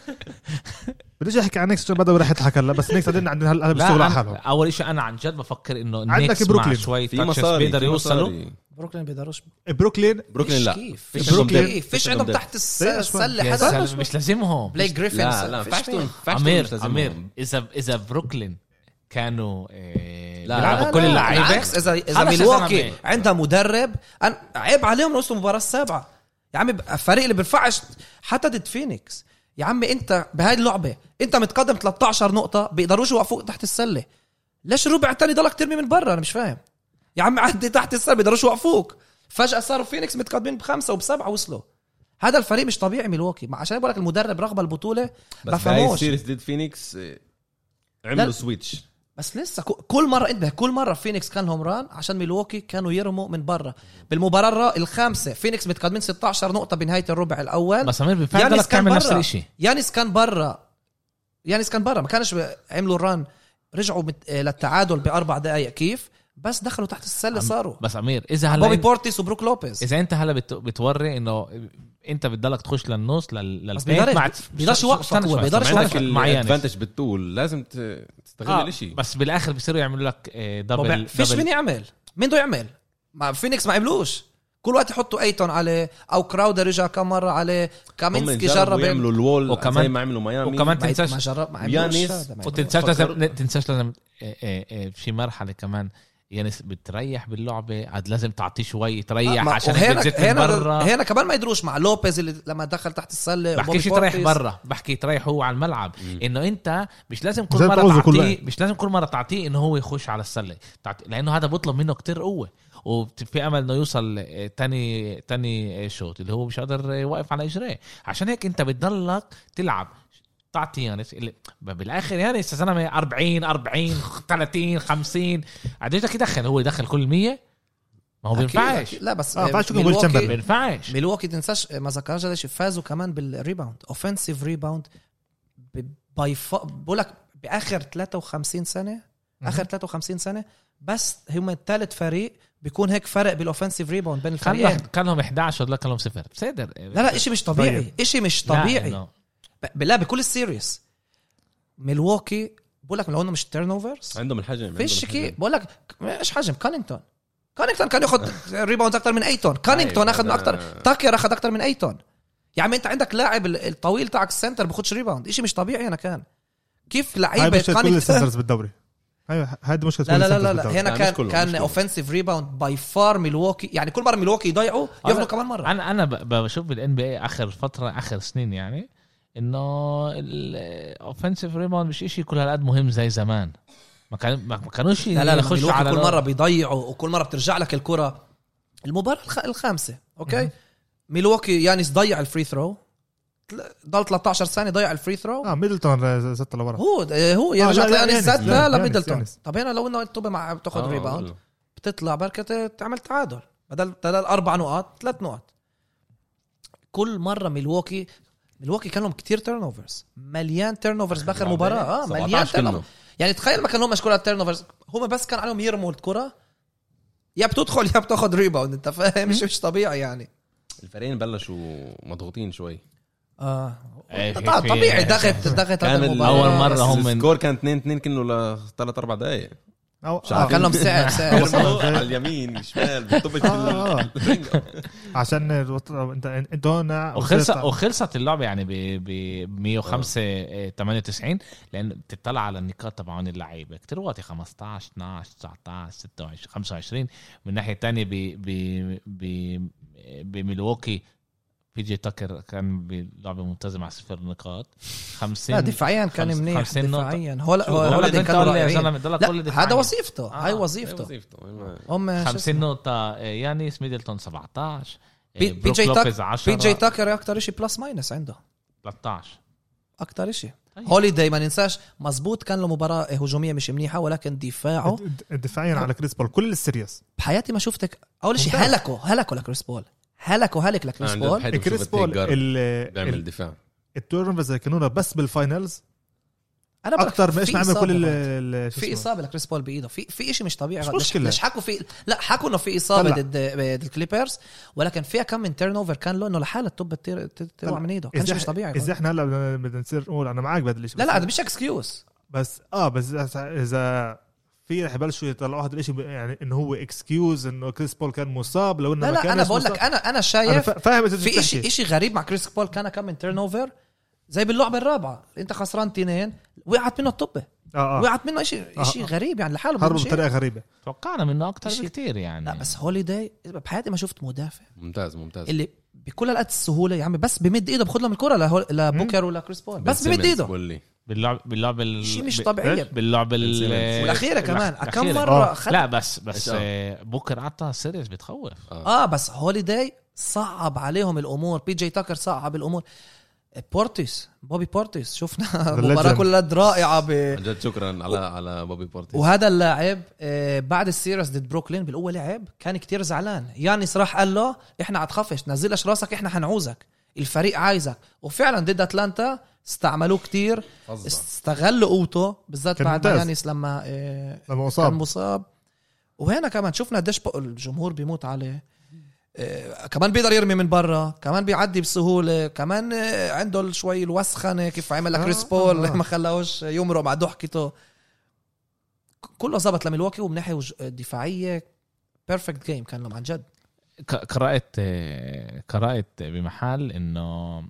[SPEAKER 3] بديش احكي عن نيكس عشان بدل رح يضحك هلا بس نيكس عندنا عندنا هلا بيشتغلوا على
[SPEAKER 1] لا أنا-
[SPEAKER 3] حالهم
[SPEAKER 1] اول شيء انا عن جد بفكر انه
[SPEAKER 3] عندك
[SPEAKER 1] النكس مع
[SPEAKER 3] بروكلين.
[SPEAKER 1] شوي
[SPEAKER 2] في
[SPEAKER 1] touches
[SPEAKER 2] مصاري
[SPEAKER 1] بيقدروا
[SPEAKER 2] في
[SPEAKER 1] يوصلوا
[SPEAKER 2] مصاري.
[SPEAKER 4] بروكلين بيقدروش
[SPEAKER 3] بروكلين
[SPEAKER 2] بروكلين
[SPEAKER 4] فيش
[SPEAKER 2] لا
[SPEAKER 4] كيف.
[SPEAKER 2] فيش
[SPEAKER 4] فيش
[SPEAKER 2] عندهم
[SPEAKER 3] بروكلين.
[SPEAKER 2] ديب.
[SPEAKER 4] كيف فيش عندهم
[SPEAKER 2] ديب.
[SPEAKER 4] تحت الس- السله
[SPEAKER 1] يا
[SPEAKER 4] حدا
[SPEAKER 1] زلمة، مش لازمهم
[SPEAKER 4] بلاي جريفن
[SPEAKER 2] لا لا فيش تون- فيش تون مش
[SPEAKER 1] امير
[SPEAKER 2] لازمهم.
[SPEAKER 1] امير اذا اذا بروكلين كانوا إيه،
[SPEAKER 2] لا،
[SPEAKER 1] بيلعبوا
[SPEAKER 2] لا،
[SPEAKER 1] كل
[SPEAKER 4] لا،
[SPEAKER 1] اللعيبه
[SPEAKER 4] بالعكس اذا اذا
[SPEAKER 1] خلص يا
[SPEAKER 4] ميلواكي
[SPEAKER 1] زلمة.
[SPEAKER 4] عندها مدرب أنا عيب عليهم نص المباراه السابعه يا عمي الفريق اللي بينفعش حتى ضد فينيكس يا عمي انت بهاي اللعبه انت متقدم 13 نقطه بيقدروش يوقفوك تحت السله ليش الربع الثاني ضلك ترمي من برا انا مش فاهم يا عمي عدي تحت السله بيقدروش يوقفوك فجاه صاروا فينيكس متقدمين بخمسه وبسبعه وصلوا هذا الفريق مش طبيعي ميلواكي ما- عشان بقول لك المدرب رغبه البطوله
[SPEAKER 2] بس هاي
[SPEAKER 4] بفهموش.
[SPEAKER 2] السيريز ضد فينيكس آه، عملوا
[SPEAKER 4] لا.
[SPEAKER 2] سويتش
[SPEAKER 4] بس لسه ك- كل مره انتبه كل مره فينيكس كان هوم ران عشان ميلواكي كانوا يرموا من برا بالمباراه الرا- الخامسه فينيكس متقدمين 16 نقطه بنهايه الربع الاول
[SPEAKER 1] بس امير
[SPEAKER 4] يعني
[SPEAKER 1] بينفع لك تعمل نفس الشيء
[SPEAKER 4] يانس كان برا يانس كان برا ما كانش ب- عملوا ران رجعوا مت... آه، للتعادل باربع دقائق كيف بس دخلوا تحت السله صاروا
[SPEAKER 1] بس امير اذا هلا
[SPEAKER 4] بوبي
[SPEAKER 1] انت-
[SPEAKER 4] بورتيس وبروك لوبيز
[SPEAKER 1] اذا انت هلا بت- بتوري انه انت بتضلك تخش للنص لل
[SPEAKER 4] بس
[SPEAKER 1] للبيت
[SPEAKER 4] بيقدرش-
[SPEAKER 1] مع
[SPEAKER 4] بيقدرش يوقفك
[SPEAKER 1] استنى
[SPEAKER 4] هو،
[SPEAKER 1] شوي،
[SPEAKER 4] بيقدرش
[SPEAKER 1] استنى
[SPEAKER 4] يوقفك.
[SPEAKER 2] عندك
[SPEAKER 1] شوي. مع يانس
[SPEAKER 2] الادفانتج بالطول لازم ت- تستغل
[SPEAKER 1] آه،
[SPEAKER 2] الاشي
[SPEAKER 1] بس بالاخر بيصيروا يعملوا لك آه، دبل
[SPEAKER 4] فيش
[SPEAKER 1] دبل-
[SPEAKER 4] مين يعمل مين بده يعمل ما فينيكس ما عملوش كل وقت يحطوا ايتون عليه او كراودر رجع كم مره عليه
[SPEAKER 2] هم
[SPEAKER 4] كامينسكي
[SPEAKER 2] جربوا
[SPEAKER 4] جرب
[SPEAKER 2] يعملوا الوول
[SPEAKER 1] وكمان-
[SPEAKER 2] زي ما عملوا ميامي
[SPEAKER 1] وكمان
[SPEAKER 4] ما
[SPEAKER 1] تنساش
[SPEAKER 4] ما جرب ما عملوش
[SPEAKER 2] ويانيس
[SPEAKER 4] هذا، ما عملوش.
[SPEAKER 1] وتنساش
[SPEAKER 2] فكروا-
[SPEAKER 1] لازم تنساش لازم آه، آه، آه، بشي مرحله كمان يعني بتريح باللعبه عاد لازم تعطيه شوي تريح
[SPEAKER 4] آه، ما-
[SPEAKER 1] إيه، عشان
[SPEAKER 4] وهنا
[SPEAKER 1] بتزت من
[SPEAKER 4] هنا
[SPEAKER 1] برا
[SPEAKER 4] هنا كمان ما يدروش مع لوبيز اللي لما دخل تحت السله وبوبي
[SPEAKER 1] بحكيش تريح
[SPEAKER 4] بورتيس.
[SPEAKER 1] برا بحكي تريح هو على الملعب انه انت مش لازم كل
[SPEAKER 3] زي
[SPEAKER 1] مره
[SPEAKER 3] تعوزه كل
[SPEAKER 1] تعطيه
[SPEAKER 3] وقت.
[SPEAKER 1] مش لازم كل مره تعطيه انه هو يخش على السله تعطي- لانه هذا بيطلب منه كتير قوه وفي امل انه يوصل آه، تاني تاني آه، شوط اللي هو مش قادر آه، يوقف على اجريه عشان هيك انت بتضلك تلعب تعطي يانس اللي بالاخر يانس يا زلمه 40 40 30 50 قديش إيه بدك يدخل هو يدخل كل 100 ما هو
[SPEAKER 4] أكيد-
[SPEAKER 1] بينفعش
[SPEAKER 4] أكيد. لا بس
[SPEAKER 3] آه،
[SPEAKER 4] آه،
[SPEAKER 3] بعد شو كان
[SPEAKER 4] ميلواكي-
[SPEAKER 3] بيقول تشامبرلين؟
[SPEAKER 1] بينفعش
[SPEAKER 4] ميلواكي تنساش آه، ما ذكرش هذا الشيء فازوا كمان بالريباوند اوفنسيف ريباوند ب- باي فا بقول لك باخر 53 سنه اخر 53 سنه بس هم الثالث فريق بيكون هيك فرق بالاوفنسيف ريباوند بين
[SPEAKER 1] كان لهم
[SPEAKER 4] الفريقين
[SPEAKER 1] كان لهم 11 ولا كان لهم صفر بصدر
[SPEAKER 4] لا لا شيء مش
[SPEAKER 1] طيب.
[SPEAKER 4] طبيعي شيء مش طبيعي
[SPEAKER 1] إنه-
[SPEAKER 4] ب- لا بكل السيريس ميلواكي بقول لك لو انه مش تيرن اوفرز
[SPEAKER 2] عندهم الحجم
[SPEAKER 4] فيش
[SPEAKER 2] عندهم الحجم.
[SPEAKER 4] كي بقول لك ايش حجم كانينغتون كانينغتون كان ياخذ ريباوند اكثر من ايتون كانينغتون
[SPEAKER 2] أيوة،
[SPEAKER 4] اخذ من
[SPEAKER 2] ده-
[SPEAKER 4] اكثر تاكر اخذ اكثر من ايتون يا عم انت عندك لاعب ال- الطويل تاعك السنتر بخدش ريباوند شيء مش طبيعي انا كان كيف
[SPEAKER 3] هاي
[SPEAKER 4] لعيبه
[SPEAKER 3] مشكله كل
[SPEAKER 4] كانينغتون
[SPEAKER 3] السنترز بالدوري هاي هذه مشكله
[SPEAKER 4] لا
[SPEAKER 3] كل
[SPEAKER 4] لا لا
[SPEAKER 3] السنترز
[SPEAKER 4] لا, لا.
[SPEAKER 3] بالدوري.
[SPEAKER 4] هنا
[SPEAKER 2] لا،
[SPEAKER 4] كان
[SPEAKER 2] مش كلهم،
[SPEAKER 4] كان
[SPEAKER 2] مش كلهم.
[SPEAKER 4] اوفنسيف ريباوند باي فار ميلواكي يعني كل مره ميلواكي يضيعوا ياخذوا
[SPEAKER 1] أنا-
[SPEAKER 4] كمان مره
[SPEAKER 1] انا انا ب- بشوف بالان بي اي اخر فتره اخر سنين يعني انه الاوفنسيف ريباوند مش شيء كل هالقد مهم زي زمان ما كان ما ما كانوش
[SPEAKER 4] لا لا لما
[SPEAKER 1] يخشوا
[SPEAKER 4] ميلواكي كل
[SPEAKER 1] ال-
[SPEAKER 4] مره بيضيعوا وكل مره بترجع لك الكره المباراه الخ- الخامسه اوكي ميلواكي يانس يعني ضيع الفري ثرو تل- ضل 13 ثانيه ضيع الفري ثرو
[SPEAKER 3] اه ميدلتون ستة لورا
[SPEAKER 4] هو هو يا
[SPEAKER 3] آه،
[SPEAKER 4] رجعت
[SPEAKER 3] لا، لا،
[SPEAKER 4] لانس
[SPEAKER 3] يانس،
[SPEAKER 4] زادنا
[SPEAKER 3] لا،
[SPEAKER 4] لميدلتون
[SPEAKER 3] يانس، يانس.
[SPEAKER 4] طب هنا لو انه انتم مع بتاخذ
[SPEAKER 2] آه،
[SPEAKER 4] ريباوند
[SPEAKER 2] والله.
[SPEAKER 4] بتطلع بركة تعمل تعادل بدل بدل اربع نقاط ثلاث نقاط كل مره ميلواكي ملواكي كان لهم كتير تيرن اوفرز مليان تيرن اوفرز باخر مباراه اه مليان
[SPEAKER 2] 17
[SPEAKER 4] تيرن
[SPEAKER 2] كله.
[SPEAKER 4] يعني تخيل ما كان لهم مشكور على التيرن اوفرز هم بس كان عليهم يرموا الكره يا بتدخل يا بتاخد ريباوند انت فاهم مش مش طبيعي يعني
[SPEAKER 2] الفريقين بلشوا مضغوطين شوي
[SPEAKER 4] اه
[SPEAKER 1] إيه، في-
[SPEAKER 4] طبعا
[SPEAKER 1] في-
[SPEAKER 4] طبيعي ضغط ضغط
[SPEAKER 2] كان
[SPEAKER 4] هذا
[SPEAKER 2] ال-
[SPEAKER 4] المباراة.
[SPEAKER 1] أول مرة
[SPEAKER 4] بس-
[SPEAKER 1] هم من-
[SPEAKER 2] السكور كان 2 2 كانه ل 3 4 دقائق
[SPEAKER 3] أو
[SPEAKER 2] مش
[SPEAKER 4] آه،
[SPEAKER 2] عارف.
[SPEAKER 3] آه
[SPEAKER 4] كان لهم سعر سعر
[SPEAKER 2] يرموا على اليمين الشمال بالطبق
[SPEAKER 3] آه، آه.
[SPEAKER 2] الرينج.
[SPEAKER 3] عشان الوتر- انت انت هون
[SPEAKER 1] وخلصت وخلصت اللعبه يعني ب ب 105 آه، 98 لان بتطلع على النقاط تبعون اللعيبه كتير واطي 15 12 19 26 25 من ناحيه تانية ب ب ب بميلواكي بي جي تاكر كان بلعبه ممتازه مع صفر نقاط 50
[SPEAKER 4] لا دفاعيا كان
[SPEAKER 1] خمس-
[SPEAKER 4] منيح
[SPEAKER 1] خمسين نقطة.
[SPEAKER 4] دفاعيا هولا
[SPEAKER 1] شوف، هلا
[SPEAKER 4] هولا
[SPEAKER 1] انت
[SPEAKER 4] كانوا
[SPEAKER 1] قول لي يا
[SPEAKER 4] رائعين
[SPEAKER 1] زلمه ضلك كل
[SPEAKER 4] لا هذا
[SPEAKER 1] دفاعيا.
[SPEAKER 4] وظيفته
[SPEAKER 1] آه،
[SPEAKER 4] هاي
[SPEAKER 2] إيه
[SPEAKER 4] وظيفته
[SPEAKER 2] وظيفته إيه،
[SPEAKER 4] هم
[SPEAKER 1] 50 نقطة آه، يانيس ميدلتون 17 آه،
[SPEAKER 4] بي- بي
[SPEAKER 1] بروك
[SPEAKER 4] جي
[SPEAKER 1] لوبيز
[SPEAKER 4] تاك بي جي
[SPEAKER 1] 10
[SPEAKER 4] تاكر اكثر شيء بلس ماينس عنده
[SPEAKER 1] 13
[SPEAKER 4] اكثر شيء
[SPEAKER 1] طيب.
[SPEAKER 4] هوليداي ما ننساش مزبوط كان له مباراه هجوميه مش منيحه ولكن دفاعه
[SPEAKER 3] دفاعيا على كريس بول كل السيريس
[SPEAKER 4] بحياتي ما شفتك اول شيء
[SPEAKER 3] ممتاز.
[SPEAKER 4] هلكوا هلكوا لكريس بول هلكوا هلك لكريس
[SPEAKER 2] آه، عن جد
[SPEAKER 4] بول
[SPEAKER 2] حلو
[SPEAKER 3] كريس
[SPEAKER 2] شوف
[SPEAKER 3] بول
[SPEAKER 2] التيجر
[SPEAKER 3] ال-
[SPEAKER 2] بيعمل
[SPEAKER 3] ال-
[SPEAKER 2] دفاع
[SPEAKER 3] التورنفز اللي كانوا بس بالفاينلز
[SPEAKER 4] انا بقولك
[SPEAKER 3] اكثر ما
[SPEAKER 4] في
[SPEAKER 3] ايش نعمل
[SPEAKER 4] إصابة
[SPEAKER 3] كل
[SPEAKER 4] بعد.
[SPEAKER 3] ال
[SPEAKER 4] في اصابه لكريس بول بايده في في شيء مش طبيعي
[SPEAKER 3] مش
[SPEAKER 4] غلط.
[SPEAKER 3] مشكلة.
[SPEAKER 4] مش حكوا في لا حكوا انه في اصابه
[SPEAKER 3] طلع.
[SPEAKER 4] ضد ضد الكليبرز ولكن فيها كم من تيرن اوفر كان له انه لحاله الطب تطير- تطلع
[SPEAKER 3] طلع.
[SPEAKER 4] من ايده كانش
[SPEAKER 3] اذا
[SPEAKER 4] مش طبيعي
[SPEAKER 3] اذا احنا هلا بدنا- بدنا نصير نقول انا معك بهذا الشيء
[SPEAKER 4] لا لا هذا مش اكسكيوز
[SPEAKER 3] بس اه بس إذا- اذا في رح يبلشوا يطلعوا هذا الشيء يعني انه هو اكسكيوز انه كريس بول كان مصاب لو انه
[SPEAKER 4] لا
[SPEAKER 3] ما
[SPEAKER 4] لا
[SPEAKER 3] كانش
[SPEAKER 4] انا بقول
[SPEAKER 3] مصاب.
[SPEAKER 4] لك انا انا
[SPEAKER 3] أنا
[SPEAKER 4] شايف
[SPEAKER 3] فا- فاهم إذا
[SPEAKER 4] في
[SPEAKER 3] بتحكي.
[SPEAKER 4] شيء شيء غريب مع كريس بول كان كم من تيرن اوفر زي باللعبه الرابعه انت خسران تنين وقعت منه الطبه
[SPEAKER 3] اه اه
[SPEAKER 4] وقعت منه شيء
[SPEAKER 3] آه،
[SPEAKER 4] شيء
[SPEAKER 3] آه.
[SPEAKER 4] غريب يعني لحاله
[SPEAKER 3] هربوا
[SPEAKER 4] مش شيء.
[SPEAKER 3] بطريقه غريبه
[SPEAKER 1] توقعنا منه أكتر
[SPEAKER 4] شيء.
[SPEAKER 1] بكتير يعني
[SPEAKER 4] لا بس هوليداي بحياتي ما شفت مدافع
[SPEAKER 2] ممتاز ممتاز
[SPEAKER 4] اللي بكل الأوقات السهوله يا عمي بس بمد ايده بخد لهم الكره لهول- لبوكر ولا كريس بول بس بمد
[SPEAKER 2] سيمنز
[SPEAKER 4] ايده
[SPEAKER 2] بقول لي.
[SPEAKER 1] باللعب باللعب ال-
[SPEAKER 4] شيء مش
[SPEAKER 1] ب-
[SPEAKER 4] طبيعي.
[SPEAKER 1] باللعب ال-
[SPEAKER 2] بالسيمنز.
[SPEAKER 4] والأخيرة كمان،
[SPEAKER 1] الأخ-
[SPEAKER 4] كم
[SPEAKER 1] الأخيرة.
[SPEAKER 4] مرة
[SPEAKER 1] آه.
[SPEAKER 4] خد-
[SPEAKER 1] لا بس بس
[SPEAKER 2] إيش آه.
[SPEAKER 1] آه، بوكر عطى سيريس بتخوف
[SPEAKER 4] اه بس هوليداي صعب عليهم الامور بي جي تاكر صعب الامور بورتيس بوبي بورتيس شفنا
[SPEAKER 3] The
[SPEAKER 4] مباراه
[SPEAKER 3] legend.
[SPEAKER 4] كلها رائعه ب...
[SPEAKER 2] عن جد شكرا على على بوبي بورتي
[SPEAKER 4] وهذا اللاعب آه، بعد السيريس ضد بروكلين بالاول لعب كان كتير زعلان يانيس راح قال له احنا عتخفش نزلش راسك احنا حنعوزك الفريق عايزك وفعلا ضد اتلانتا استعملوه كتير
[SPEAKER 2] فظة.
[SPEAKER 4] استغلوا قوته بالذات
[SPEAKER 3] كان
[SPEAKER 4] بعد ما
[SPEAKER 3] ممتاز.
[SPEAKER 4] يانيس لما آه،
[SPEAKER 3] لما
[SPEAKER 4] كان
[SPEAKER 3] اصاب
[SPEAKER 4] مصاب وهنا كمان شفنا قديش بق- الجمهور بيموت عليه آه، كمان بيقدر يرمي من برا كمان بيعدي بسهوله كمان آه، عنده شوي الوسخنه كيف عمل
[SPEAKER 3] آه،
[SPEAKER 4] لكريس بول
[SPEAKER 3] آه.
[SPEAKER 4] ما خلاهوش يمرق مع ضحكته ك- كله زبط لميلواكي ومن ناحيه وج- دفاعيه بيرفكت جيم كان لهم عن جد
[SPEAKER 1] ك- قرأت آه، قرأت بمحل إنه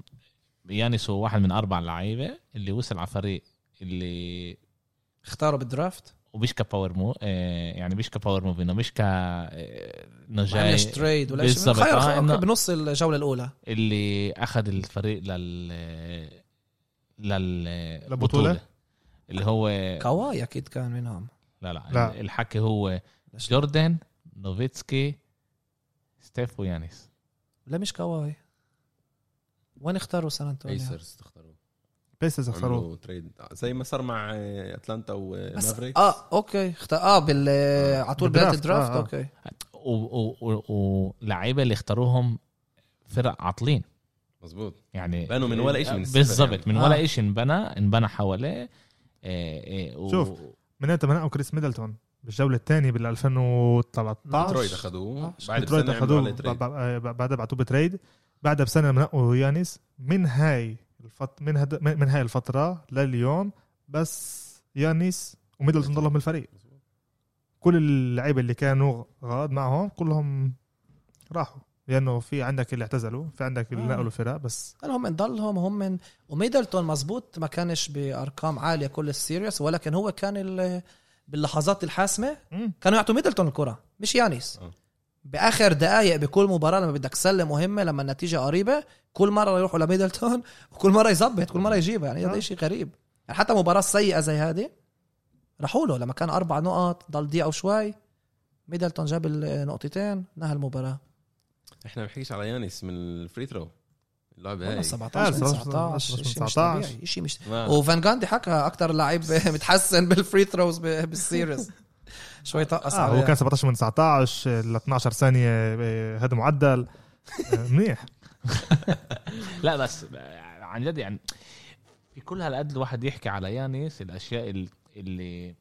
[SPEAKER 1] يانس هو واحد من أربع لعيبة اللي وصل على فريق اللي
[SPEAKER 4] اختاروا بالدرافت
[SPEAKER 1] ومش كباور مو آه، يعني مش كباور موف انه مش ك آه، إنه
[SPEAKER 4] ما
[SPEAKER 1] جاي
[SPEAKER 4] تريد ولا شيء
[SPEAKER 1] بالظبط.
[SPEAKER 4] خير
[SPEAKER 1] آه،
[SPEAKER 4] خير،
[SPEAKER 1] إنه-
[SPEAKER 4] أوكي، بنص الجوله الاولى
[SPEAKER 1] اللي اخذ الفريق لل آه، لل آه،
[SPEAKER 3] للبطولة؟
[SPEAKER 1] بطولة. اللي هو
[SPEAKER 4] كواي اكيد كان منهم
[SPEAKER 1] لا لا,
[SPEAKER 3] لا.
[SPEAKER 1] الحكي هو جوردن نوفيتسكي ستيف ويانيس
[SPEAKER 4] لا مش كواي وين اختاروا سان انطونيو؟
[SPEAKER 2] ايسرز تختاروا
[SPEAKER 3] بيسز اختاروه
[SPEAKER 2] عملوا تريد زي ما صار مع آه، اتلانتا
[SPEAKER 4] بس
[SPEAKER 2] ومافريك
[SPEAKER 4] اه اوكي اخت... اه بال على طول بدايه
[SPEAKER 3] بالدرافت،
[SPEAKER 4] الدرافت
[SPEAKER 3] آه، آه.
[SPEAKER 4] اوكي
[SPEAKER 1] ولاعيبه اللي اختاروهم فرق عاطلين
[SPEAKER 2] مظبوط
[SPEAKER 1] يعني
[SPEAKER 2] بنوا من ولا إشي من الصفر
[SPEAKER 1] بالظبط
[SPEAKER 2] يعني.
[SPEAKER 1] من
[SPEAKER 4] آه.
[SPEAKER 1] ولا شيء انبنى انبنى حواليه آه، آه، و-
[SPEAKER 3] شوف. من متى منقوا كريس ميدلتون بالجوله الثانيه بال 2013
[SPEAKER 2] ترويد اخذوه بعد
[SPEAKER 3] آه. ديترويت
[SPEAKER 2] بسنه عملوا
[SPEAKER 3] اخذوه
[SPEAKER 2] عليه تريد
[SPEAKER 3] بعدها بعتوه بتريد بعدها بسنه منقوا يانيس من هاي الفت من هد... من من هاي الفتره لليوم بس يانيس وميدلتون ضلهم بالفريق كل اللعيبه اللي كانوا غاد معهم كلهم راحوا لانه في عندك اللي اعتزلوا في عندك اللي
[SPEAKER 4] آه.
[SPEAKER 3] نقلوا فرق بس
[SPEAKER 4] هل هم من ضلهم هم من وميدلتون مزبوط ما كانش بارقام عاليه كل السيريس ولكن هو كان ال... باللحظات الحاسمه
[SPEAKER 3] مم.
[SPEAKER 4] كانوا يعطوا ميدلتون الكره مش يانيس
[SPEAKER 2] آه.
[SPEAKER 4] باخر دقائق بكل مباراه لما بدك تسلم مهمه لما النتيجه قريبه كل مره يروحوا لميدلتون وكل مره يظبط كل مره يجيبها يعني هذا
[SPEAKER 3] آه.
[SPEAKER 4] شيء غريب يعني حتى مباراه سيئه زي هذه راحوا له لما كان اربع نقط ضل دقيقه وشوي ميدلتون جاب النقطتين نهى المباراه
[SPEAKER 2] احنا ما بنحكيش على يانس من الفري ثرو اللعبه
[SPEAKER 4] والله
[SPEAKER 2] هاي
[SPEAKER 4] 17 من
[SPEAKER 3] آه، 17
[SPEAKER 4] 19 شيء مش
[SPEAKER 3] 19.
[SPEAKER 4] طبيعي شيء مش
[SPEAKER 2] ما-
[SPEAKER 4] وفان جاندي حكى اكثر لعيب متحسن بالفري ثروز بالسيريز شوي طقس
[SPEAKER 3] آه هو
[SPEAKER 2] يعني.
[SPEAKER 4] عليه.
[SPEAKER 3] كان 17 من 19 ل 12 ثانيه آه، هذا معدل آه، منيح
[SPEAKER 1] لا بس آه، عن جد يعني في كل هالقد الواحد يحكي على يانس الاشياء ال- اللي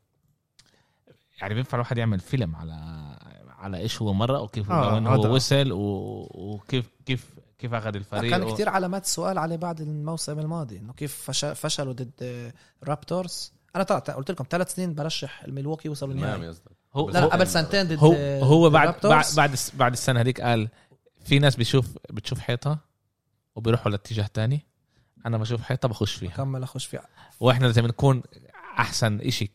[SPEAKER 1] يعني بينفع الواحد يعمل فيلم على على ايش هو مرة وكيف
[SPEAKER 3] آه،
[SPEAKER 1] آه هو
[SPEAKER 3] هذا.
[SPEAKER 1] وصل و- وكيف كيف كيف اخذ الفريق
[SPEAKER 4] كان
[SPEAKER 1] و-
[SPEAKER 4] كتير علامات سؤال عليه بعد الموسم الماضي انه كيف فش- فشلوا ضد رابتورز انا طلعت قلت لكم ثلاث سنين برشح الميلواكي يوصلوا
[SPEAKER 2] ميامي
[SPEAKER 4] النهائي
[SPEAKER 2] قصدك
[SPEAKER 1] هو
[SPEAKER 4] لا لا قبل سنتين ضد
[SPEAKER 1] هو هو
[SPEAKER 4] ضد
[SPEAKER 1] بعد
[SPEAKER 4] الرابتورز.
[SPEAKER 1] بعد بعد الس- بعد السنه هذيك قال في ناس بيشوف بتشوف حيطه وبيروحوا لاتجاه تاني انا بشوف حيطه بخش فيها
[SPEAKER 4] كمل اخش فيها
[SPEAKER 1] واحنا لازم نكون احسن إشي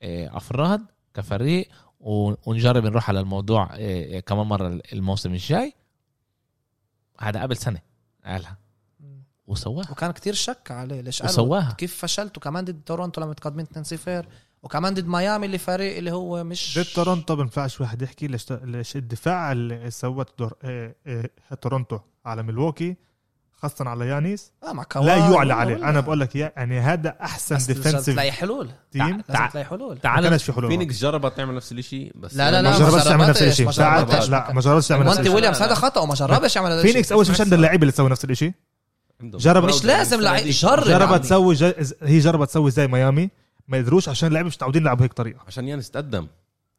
[SPEAKER 1] كافراد كفريق و- ونجرب نروح على الموضوع إيه، كمان مره الموسم الجاي هذا قبل سنه قالها وسواها
[SPEAKER 4] وكان كتير شك عليه ليش قالوا
[SPEAKER 1] وسواها
[SPEAKER 4] كيف فشلت وكمان ضد تورونتو لما متقدمين 2-0 وكمان ضد ميامي اللي فريق اللي هو مش
[SPEAKER 3] ضد تورونتو بنفعش واحد يحكي ليش ليش الدفاع اللي سوت دور إيه إيه تورونتو على ملواكي خاصة على يانيس
[SPEAKER 4] اه مع كواي
[SPEAKER 3] لا يعلى عليه انا بقول لك إياه، يعني هذا احسن ديفنسيف
[SPEAKER 4] تلاقي حلول
[SPEAKER 3] تيم
[SPEAKER 4] لازم
[SPEAKER 1] تع-
[SPEAKER 4] تلاقي حلول
[SPEAKER 3] ما
[SPEAKER 1] تعال
[SPEAKER 3] كانش في حلول
[SPEAKER 2] فينيكس جربت تعمل نفس الشيء بس
[SPEAKER 4] لا، لا،
[SPEAKER 3] ما
[SPEAKER 4] لا،
[SPEAKER 3] جربش تعمل نفس
[SPEAKER 4] جربتش،
[SPEAKER 3] الشيء
[SPEAKER 4] ما
[SPEAKER 3] ساعات
[SPEAKER 4] جربتش.
[SPEAKER 3] لا ما جربش تعمل نفس
[SPEAKER 4] مونتي
[SPEAKER 3] الشيء
[SPEAKER 4] ويليامز هذا خطا وما جربش يعمل هذا الشيء.
[SPEAKER 3] فينيكس اول شيء مش عندها اللعيبه اللي تسوي نفس الشيء
[SPEAKER 4] مش لازم لعي- جرب.
[SPEAKER 3] جربت
[SPEAKER 4] عمي.
[SPEAKER 3] تسوي ج... هي جربت تسوي زي ميامي ما قدروش عشان اللعيبه مش متعودين يلعبوا بهيك طريقه
[SPEAKER 2] عشان يانس تقدم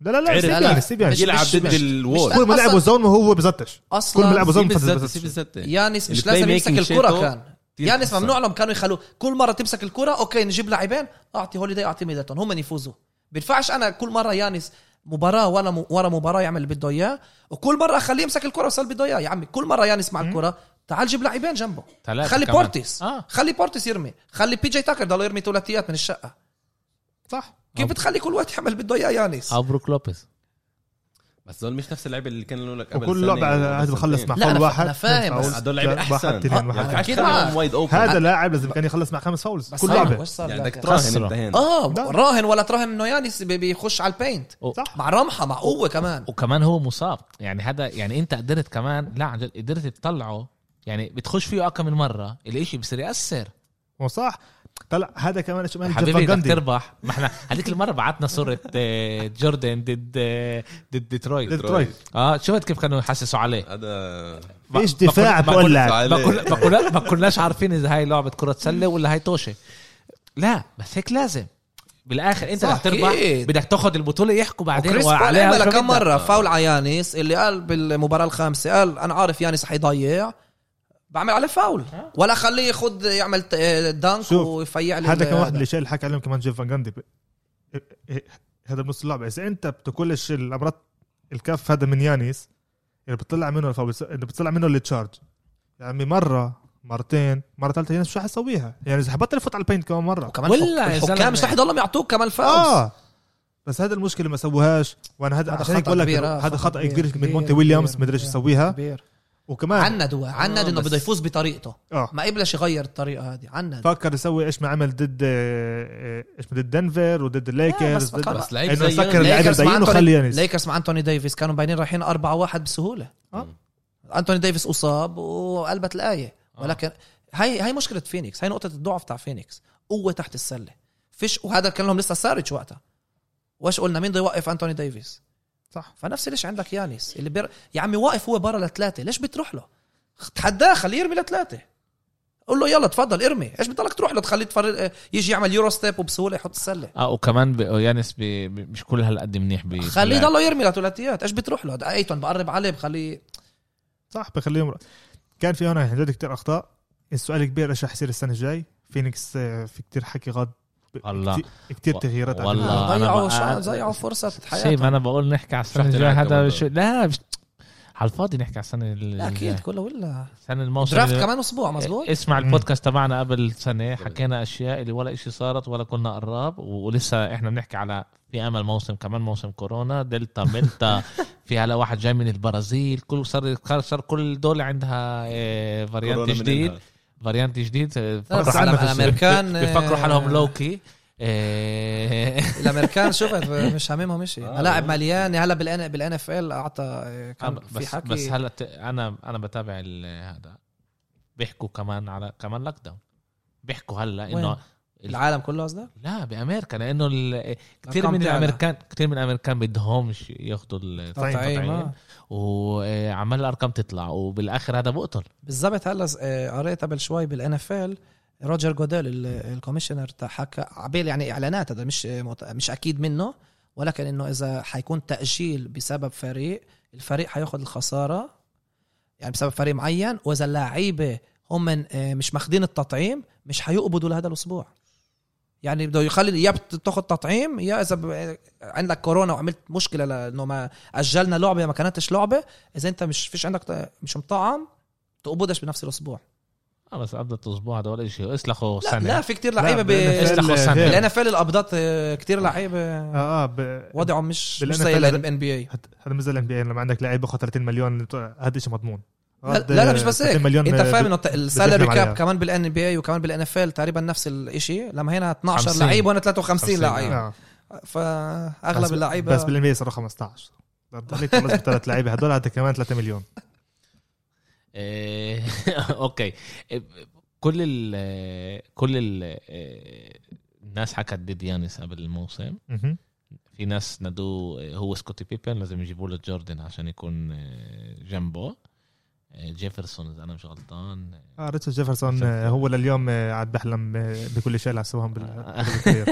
[SPEAKER 3] لا لا لا
[SPEAKER 1] عرف.
[SPEAKER 3] سيب
[SPEAKER 1] لا،
[SPEAKER 4] لا.
[SPEAKER 3] يعني سيب يعني
[SPEAKER 4] مش-
[SPEAKER 2] يلعب
[SPEAKER 4] مش-
[SPEAKER 2] ضد
[SPEAKER 4] مش-
[SPEAKER 2] الوول
[SPEAKER 4] مش-
[SPEAKER 3] كل ما لعبوا زون وهو بزتش كل ما
[SPEAKER 4] اصلا
[SPEAKER 3] لعبوا زون
[SPEAKER 2] سيب الزتة
[SPEAKER 3] بزتش
[SPEAKER 2] سيب الزتة
[SPEAKER 4] يانس مش
[SPEAKER 2] البلاي
[SPEAKER 4] لازم يمسك
[SPEAKER 2] ميكينج
[SPEAKER 4] الكره
[SPEAKER 2] شيتو
[SPEAKER 4] كان
[SPEAKER 2] كتير
[SPEAKER 4] يانس
[SPEAKER 2] أحسن.
[SPEAKER 4] ممنوع لهم كانوا يخلوه كل مره تمسك الكره اوكي نجيب لاعبين اعطي هوليداي اعطي ميدلتون هم يفوزوا بينفعش انا كل مره يانس مباراه ولا م... ورا مباراه يعمل اللي بده اياه وكل مره اخليه يمسك الكره وصل بده اياه يا عمي كل مره يانس مع الكره تعال جيب لاعبين جنبه
[SPEAKER 1] ثلاثة
[SPEAKER 4] خلي
[SPEAKER 1] كمان.
[SPEAKER 4] بورتيس
[SPEAKER 1] آه.
[SPEAKER 4] خلي بورتيس يرمي خلي بي جي تاكر ضل يرمي ثلاثيات من الشقه
[SPEAKER 1] صح
[SPEAKER 4] كيف بتخلي كل واحد يعمل بده اياه يانس
[SPEAKER 1] ابروك لوبيز
[SPEAKER 2] بس دول مش نفس اللعيبه اللي كانوا لك قبل
[SPEAKER 3] وكل
[SPEAKER 2] سنة
[SPEAKER 3] لعبه
[SPEAKER 2] وقبل
[SPEAKER 3] هذا بخلص
[SPEAKER 2] سنتين.
[SPEAKER 3] مع
[SPEAKER 4] لا، أنا
[SPEAKER 3] فاول
[SPEAKER 4] فا-
[SPEAKER 3] واحد
[SPEAKER 4] أنا فاهم،
[SPEAKER 3] اثنين
[SPEAKER 4] بس
[SPEAKER 3] فاول،
[SPEAKER 2] هدول لعيبة
[SPEAKER 3] واحد،
[SPEAKER 2] أحسن.
[SPEAKER 3] اثنين
[SPEAKER 4] آه،
[SPEAKER 3] واحد.
[SPEAKER 4] أنا
[SPEAKER 2] يعني
[SPEAKER 4] أكيد معك.
[SPEAKER 2] خليهم وايد اوبن
[SPEAKER 3] هذا لاعب لازم كان يخلص مع خمس فاولز
[SPEAKER 4] بس
[SPEAKER 3] كل
[SPEAKER 4] صار-
[SPEAKER 3] لعبه
[SPEAKER 4] وش صار
[SPEAKER 2] يعني
[SPEAKER 4] لك؟
[SPEAKER 2] بدك تراهن
[SPEAKER 1] خسروا.
[SPEAKER 2] انت هنا
[SPEAKER 4] اه
[SPEAKER 3] لا.
[SPEAKER 4] راهن ولا تراهن انه يانس بي- بيخش على البينت
[SPEAKER 3] صح
[SPEAKER 4] مع رمحه مع قوه كمان
[SPEAKER 1] وكمان هو مصاب يعني هذا يعني انت قدرت كمان لا عن جد قدرت تطلعه يعني بتخش فيه اكم من مره الاشي بصير ياثر
[SPEAKER 3] هو صح طلع هذا كمان شو مال
[SPEAKER 1] حبيبي
[SPEAKER 3] جيف
[SPEAKER 1] بدك
[SPEAKER 3] فاندي
[SPEAKER 1] تربح ما احنا هذيك المره بعتنا صوره آه، جوردن ضد آه، ضد ديترويت
[SPEAKER 3] ديترويت
[SPEAKER 1] اه شفت كيف كانوا يحسسوا عليه
[SPEAKER 2] هذا
[SPEAKER 1] ما-
[SPEAKER 3] ايش
[SPEAKER 1] ما
[SPEAKER 3] دفاع
[SPEAKER 1] كنا- ما
[SPEAKER 3] بقول
[SPEAKER 1] كنا-
[SPEAKER 3] لك
[SPEAKER 1] ما كنا- ما كنا- ما كناش عارفين اذا هاي لعبه كره سله ولا هاي توشه لا بس هيك لازم بالاخر انت
[SPEAKER 4] صح،
[SPEAKER 1] بدك تربح
[SPEAKER 4] أكيد.
[SPEAKER 1] بدك تاخذ البطوله يحكوا بعدين
[SPEAKER 4] وكريس بول عمل
[SPEAKER 1] شو
[SPEAKER 4] كم
[SPEAKER 1] بدك.
[SPEAKER 4] مره فاول على يانس اللي قال بالمباراه الخامسه قال انا عارف يانس حيضيع بعمل عليه فاول ولا خليه ياخذ يعمل ت- دانك
[SPEAKER 3] شوف،
[SPEAKER 4] ويفيع لي
[SPEAKER 3] هذا كان واحد
[SPEAKER 4] هذا.
[SPEAKER 3] من الاشياء اللي حكى عليهم كمان جيف فان جاندي إيه- إيه- هذا بنص اللعبه اذا انت بتاكلش الامراض الكف هذا من يانيس اللي بتطلع منه الفاول اللي بتطلع منه التشارج يا عمي مره مرتين مره ثالثه يانيس شو حيسويها يعني اذا حبطل يفوت على البينت كمان مره
[SPEAKER 4] وكمان
[SPEAKER 1] ولا
[SPEAKER 4] الحك-
[SPEAKER 1] يا
[SPEAKER 4] الحكام
[SPEAKER 1] زلمة.
[SPEAKER 4] مش رح يضلهم يعطوك كمان فاول
[SPEAKER 3] اه بس هذا المشكله ما سووهاش وانا هذا
[SPEAKER 4] هذا
[SPEAKER 3] عشان
[SPEAKER 4] خطأ
[SPEAKER 3] هيك بقول لك
[SPEAKER 4] كبير، آه،
[SPEAKER 3] هذا
[SPEAKER 4] خطأ
[SPEAKER 3] خطا
[SPEAKER 4] كبير،
[SPEAKER 3] كبير من
[SPEAKER 4] كبير،
[SPEAKER 3] مونتي ويليامز
[SPEAKER 4] كبير،
[SPEAKER 3] ما ادري ايش
[SPEAKER 4] كبير.
[SPEAKER 3] يسويها
[SPEAKER 4] كبير
[SPEAKER 3] وكمان
[SPEAKER 4] عندوا عند انه
[SPEAKER 3] آه، بس-
[SPEAKER 4] بده يفوز بطريقته
[SPEAKER 3] اه
[SPEAKER 4] ما قبلش يغير الطريقه هذه عند
[SPEAKER 3] فكر يسوي ايش ما عمل ضد آه، آه، ايش ما ضد دنفر وضد
[SPEAKER 4] بس
[SPEAKER 3] الليكرز
[SPEAKER 4] ما كان-
[SPEAKER 3] ضد-
[SPEAKER 2] بس لعيب
[SPEAKER 3] انه
[SPEAKER 2] زي
[SPEAKER 3] يسكر
[SPEAKER 2] يانس.
[SPEAKER 3] اللعيبه
[SPEAKER 4] ليكرز مع
[SPEAKER 3] زينه
[SPEAKER 4] أنتوني-
[SPEAKER 3] وخلي يانس
[SPEAKER 4] ليكرز مع انتوني ديفيس كانوا باينين رايحين 4-1 بسهوله
[SPEAKER 3] آه.
[SPEAKER 4] انتوني ديفيس اصاب وقلبت الايه ولكن هاي هاي مشكله فينيكس هاي نقطه الضعف تاع فينيكس قوه تحت السله فيش وهذا كان لهم لسه سارج وقتها وايش قلنا مين بده يوقف انتوني ديفيس
[SPEAKER 3] صح.
[SPEAKER 4] فنفس ليش عندك يانيس اللي بير... يا عمي واقف هو برا لثلاثه ليش بتروح له تحداه خليه يرمي لثلاثه قول له يلا تفضل ارمي ايش بضلك تروح له تخليه تفر... يجي يعمل يورو ستيب وبسهوله يحط السله
[SPEAKER 1] اه وكمان ب- يانس ب- ب- مش كل هالقد منيح ب-
[SPEAKER 4] خليه
[SPEAKER 1] باللعب.
[SPEAKER 4] يضله يرمي لثلاثيات ايش بتروح له ده ايتون بقرب عليه بخليه
[SPEAKER 3] صح بخليه يمرق كان في هنا عن جد كثير اخطاء السؤال الكبير ايش رح يصير السنه الجاي فينيكس آه، في كثير حكي غاد
[SPEAKER 1] والله.
[SPEAKER 3] كثير تغييرات عن
[SPEAKER 1] والله.
[SPEAKER 3] جد.
[SPEAKER 1] آه، أنا
[SPEAKER 4] ضيعوا
[SPEAKER 1] بقى-
[SPEAKER 4] شا- ضيعوا فرصه
[SPEAKER 1] شيء
[SPEAKER 4] حياتهم
[SPEAKER 1] ما انا بقول نحكي على السنه
[SPEAKER 2] رح
[SPEAKER 1] الجايه
[SPEAKER 2] تلعب
[SPEAKER 1] هذا
[SPEAKER 2] كمان
[SPEAKER 1] مش... لا مش... على الفاضي نحكي على السنه ال-
[SPEAKER 4] لا
[SPEAKER 1] الجاية.
[SPEAKER 4] اكيد كله ولا
[SPEAKER 1] السنه الموسم
[SPEAKER 4] درافت
[SPEAKER 1] اللي-
[SPEAKER 4] كمان اسبوع مزبوط
[SPEAKER 1] اسمع
[SPEAKER 3] مم.
[SPEAKER 1] البودكاست تبعنا قبل سنه حكينا اشياء اللي ولا إشي صارت ولا كنا قراب و- ولسه احنا بنحكي على في امل موسم كمان موسم كورونا دلتا ملتا في هلا واحد جاي من البرازيل كل صار صار كل دول عندها إيه، فاريانت
[SPEAKER 2] كورونا من
[SPEAKER 1] جديد
[SPEAKER 2] إنها.
[SPEAKER 1] فاريانت جديد إيه، بفكروا
[SPEAKER 4] بس
[SPEAKER 1] حالهم-
[SPEAKER 4] على- على أمريكان،
[SPEAKER 1] بفكروا حالهم
[SPEAKER 4] آه،
[SPEAKER 1] لوكي إيه،
[SPEAKER 4] الامريكان شفت إيه، مش هاممهم شيء
[SPEAKER 2] آه.
[SPEAKER 4] لاعب مليان هلا بالان بالان اف ال اعطى آه، كان
[SPEAKER 1] أم-
[SPEAKER 4] في
[SPEAKER 1] بس
[SPEAKER 4] حكي
[SPEAKER 1] بس هلا ت- انا انا بتابع ال- هذا بيحكوا كمان على كمان لوك داون بيحكوا هلا
[SPEAKER 4] وين؟
[SPEAKER 1] انه
[SPEAKER 4] العالم كله قصدك؟
[SPEAKER 1] لا بامريكا لانه ال- كتير
[SPEAKER 4] الأرقام
[SPEAKER 1] من
[SPEAKER 4] بتعلى.
[SPEAKER 1] الامريكان كتير من الامريكان بدهمش ياخذوا
[SPEAKER 3] طبعاً.
[SPEAKER 1] التطعيم
[SPEAKER 4] آه.
[SPEAKER 1] وعمال الارقام تطلع وبالاخر هذا بقتل
[SPEAKER 4] بالضبط هلا آه، قريت قبل شوي بالان اف ال روجر جوديل ال- الكوميشنر تاع حكى عبال يعني اعلانات هذا مش آه، مت- مش اكيد منه ولكن انه اذا حيكون تاجيل بسبب فريق الفريق حياخذ الخساره يعني بسبب فريق معين واذا اللعيبه هم من- آه، مش ماخذين التطعيم مش حيقبضوا لهذا الاسبوع يعني بده يخلي يا بتاخذ تطعيم يا اذا ب- عندك كورونا وعملت مشكله لانه ما اجلنا لعبه ما كانتش لعبه اذا انت مش فيش عندك ط- مش مطعم تقبضش بنفس الاسبوع
[SPEAKER 1] اه بس قبل الاسبوع هذا ولا شيء اسلخوا
[SPEAKER 4] لا
[SPEAKER 1] سنه
[SPEAKER 4] لا في كتير لعيبه ب
[SPEAKER 1] بال- استخلص سنة.
[SPEAKER 4] ال
[SPEAKER 3] هذا
[SPEAKER 4] NFL القبضات آه، كتير لعيبه
[SPEAKER 3] اه اه وضع
[SPEAKER 4] وضعهم مش
[SPEAKER 3] بال
[SPEAKER 4] مش زي
[SPEAKER 3] NFL
[SPEAKER 4] الان بي اي
[SPEAKER 3] هذا مش زي الان بي لما عندك لعيب باخذ 30 مليون هذا شيء مضمون
[SPEAKER 4] لا لا مش بس
[SPEAKER 3] 30
[SPEAKER 4] هيك
[SPEAKER 3] مليون
[SPEAKER 4] انت فاهم انه السالري
[SPEAKER 3] عليها.
[SPEAKER 4] كاب كمان بالان بي اي وكمان بالان اف ال تقريبا نفس الشيء لما هنا 12
[SPEAKER 1] 50.
[SPEAKER 4] لعيب وهنا 53
[SPEAKER 1] 50
[SPEAKER 4] لعيب
[SPEAKER 3] آه. بس-
[SPEAKER 4] فاغلب اللعيبه
[SPEAKER 3] بس بالان صاروا 15 ضليت خلص بثلاث لعيبه هدول هذا كمان 3 مليون
[SPEAKER 1] إيه، اوكي إيه، كل ال كل ال إيه، الناس حكت ضد يانس قبل الموسم
[SPEAKER 3] مهم.
[SPEAKER 1] في ناس نادوه إيه، هو سكوتي بيبن لازم يجيبوا له جوردن عشان يكون إيه، جنبه إيه، جيفرسون اذا انا مش غلطان
[SPEAKER 3] اه ريتشارد جيفرسون آه، هو لليوم آه، قاعد بحلم آه، بكل شيء اللي
[SPEAKER 1] آه.
[SPEAKER 3] سواهم بالكارير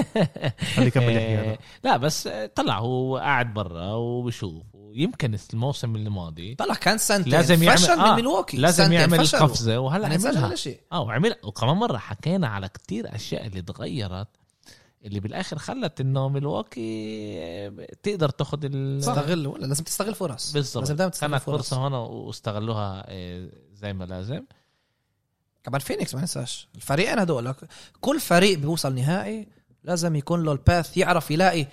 [SPEAKER 3] خليه يكمل يحكي هذا.
[SPEAKER 1] إيه، لا بس آه، طلع هو قاعد برا وبشوف ويمكن الموسم الماضي
[SPEAKER 4] طلع كان سنتين
[SPEAKER 1] لازم يعمل-
[SPEAKER 4] فشل
[SPEAKER 1] آه،
[SPEAKER 4] من ملواكي
[SPEAKER 1] لازم
[SPEAKER 4] سنتين
[SPEAKER 1] يعمل
[SPEAKER 4] فشلوا.
[SPEAKER 1] قفزه وهلا
[SPEAKER 4] يعني
[SPEAKER 1] عملها
[SPEAKER 4] سجل شيء
[SPEAKER 1] اه وعمل وكمان مره حكينا على كتير اشياء اللي تغيرت اللي بالاخر خلت انه ملواكي تقدر تاخد ال
[SPEAKER 4] تستغل ولا لازم تستغل فرص
[SPEAKER 1] بالظبط
[SPEAKER 4] لازم دايما
[SPEAKER 1] كانت
[SPEAKER 4] تستغل فرص
[SPEAKER 1] فرصه هنا واستغلوها آه، زي ما لازم
[SPEAKER 4] كمان فينيكس ما ننساش الفريقين هدول كل فريق بيوصل نهائي لازم يكون له الباث يعرف يلاقي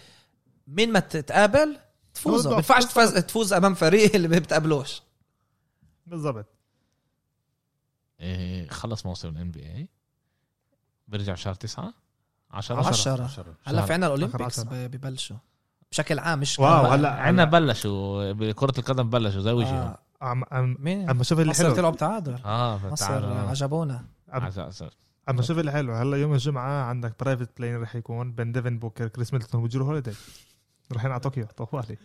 [SPEAKER 4] مين ما تتقابل تفوز ما
[SPEAKER 3] بالضبط.
[SPEAKER 4] ينفعش تفوز تفوز امام فريق اللي ما بتقابلوش
[SPEAKER 3] بالضبط
[SPEAKER 1] آه، خلص موسم الان بي اي برجع شهر 9 10
[SPEAKER 3] عشرة.
[SPEAKER 4] 10
[SPEAKER 2] عشرة.
[SPEAKER 4] هلا في عندنا الاولمبيكس
[SPEAKER 3] عشرة.
[SPEAKER 4] ب- ببلشوا بشكل عام مش
[SPEAKER 3] واو،
[SPEAKER 4] كمان.
[SPEAKER 3] هلا-
[SPEAKER 1] عندنا بلشوا بكره القدم بلشوا زي وجههم
[SPEAKER 4] آه،
[SPEAKER 3] عم عم
[SPEAKER 4] مين
[SPEAKER 3] عم شوف اللي
[SPEAKER 4] مصر
[SPEAKER 3] حلو
[SPEAKER 4] تلعب تعادل
[SPEAKER 1] اه
[SPEAKER 4] آه. مصر
[SPEAKER 1] تعال
[SPEAKER 4] عجبونا
[SPEAKER 3] عم- عم شوف اللي حلو هلا يوم الجمعه عندك برايفت بلاين رح يكون بين ديفن بوكر كريس ميدلتون وجرو هوليدي رايحين على طوكيو طوالي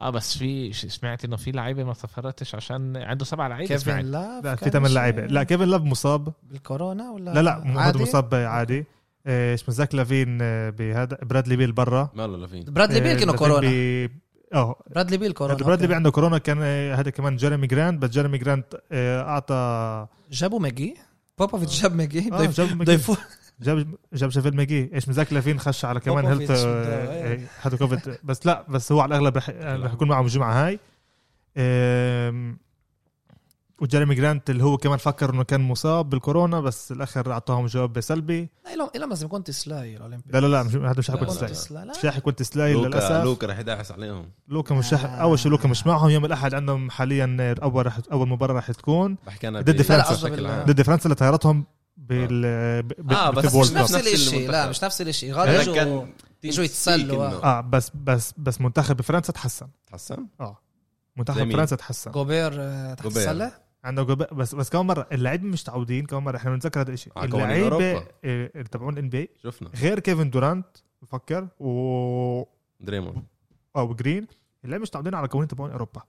[SPEAKER 1] اه بس في ش- سمعت انه في لعيبه ما سافرتش عشان عنده سبع لعيبه
[SPEAKER 4] كيفن
[SPEAKER 1] سمعت
[SPEAKER 4] لاف
[SPEAKER 3] لا في
[SPEAKER 4] كان
[SPEAKER 3] ثمان
[SPEAKER 4] مش-
[SPEAKER 3] لعيبه لا كيفن لاف مصاب
[SPEAKER 4] بالكورونا ولا
[SPEAKER 3] لا لا مو هذا
[SPEAKER 4] عادي؟
[SPEAKER 3] مصاب عادي آه، اسمه زاك لافين آه، بهذا برادلي بيل برا
[SPEAKER 2] ماله لافين
[SPEAKER 4] برادلي بيل كانوا
[SPEAKER 3] آه،
[SPEAKER 4] كورونا
[SPEAKER 3] لافين ب- اه
[SPEAKER 4] برادلي بيل كورونا
[SPEAKER 3] هذا برادلي
[SPEAKER 4] أوكي.
[SPEAKER 3] بي عنده كورونا كان آه، هذا كمان جيريمي جراند بس جيريمي جراند آه، اعطى
[SPEAKER 4] جابوا ماجي بوبوفيتش جاب ماجي
[SPEAKER 3] آه،
[SPEAKER 4] بده
[SPEAKER 3] جاب
[SPEAKER 4] بده
[SPEAKER 3] ماجي.
[SPEAKER 4] يفوز
[SPEAKER 3] جاب جاب شافيل ماجي ايش مزاك لافين خش على كمان
[SPEAKER 4] بوبوفيتش
[SPEAKER 3] هيلث
[SPEAKER 4] بده- إيه.
[SPEAKER 3] هذا كوفيد بس لا بس هو على الاغلب رح رح يكون معهم الجمعه هاي آم، وجيريمي جرانت اللي هو كمان فكر انه كان مصاب بالكورونا بس الاخر اعطاهم جواب سلبي
[SPEAKER 4] لا إلهم- إلهم لازم يكون تسلاي الاولمبيكس
[SPEAKER 3] لا لا لا مش- هذا مش حيكون
[SPEAKER 2] لا،
[SPEAKER 3] تسلاي
[SPEAKER 4] تسلاي لا
[SPEAKER 3] مش حيكون تسلاي
[SPEAKER 2] لوكا
[SPEAKER 3] للاسف
[SPEAKER 2] لوكا رح يدعس عليهم
[SPEAKER 3] لوكا مش رح-
[SPEAKER 4] آه.
[SPEAKER 3] اول شيء لوكا مش معهم يوم الاحد عندهم حاليا آه، اول رح اول مباراه رح تكون
[SPEAKER 2] بحكي انا
[SPEAKER 3] ضد
[SPEAKER 2] ب-
[SPEAKER 3] فرنسا.
[SPEAKER 2] بشكل عام.
[SPEAKER 3] ضد فرنسا اللي طيرتهم بال ب-
[SPEAKER 2] آه، بس
[SPEAKER 3] بالWorld
[SPEAKER 4] بس مش
[SPEAKER 3] Cup.
[SPEAKER 4] نفس
[SPEAKER 2] نفس
[SPEAKER 4] الشيء لا
[SPEAKER 2] المنتخب.
[SPEAKER 4] مش نفس الشيء
[SPEAKER 2] هذا
[SPEAKER 4] غالبا يجوا
[SPEAKER 2] كان
[SPEAKER 4] يجوا
[SPEAKER 2] team
[SPEAKER 4] يتسلوا.
[SPEAKER 2] speak إنه-
[SPEAKER 3] اه بس بس بس منتخب فرنسا تحسن
[SPEAKER 2] تحسن زي
[SPEAKER 3] منتخب
[SPEAKER 2] مين؟
[SPEAKER 3] فرنسا تحسن
[SPEAKER 4] جوبير آه، تحت
[SPEAKER 2] جوبير.
[SPEAKER 4] السله
[SPEAKER 3] عنده جوب- بس بس كمان مره اللاعبين مش متعودين كمان مره احنا بنتذكر هذا الشيء
[SPEAKER 2] على قوانين
[SPEAKER 3] اللعيبه
[SPEAKER 2] أوروبا.
[SPEAKER 3] آه، تبعون الان بي
[SPEAKER 2] شفنا
[SPEAKER 3] غير كيفن دورانت بفكر و
[SPEAKER 2] دريمون
[SPEAKER 3] او جرين اللعيبه مش متعودين على قوانين تبعون اوروبا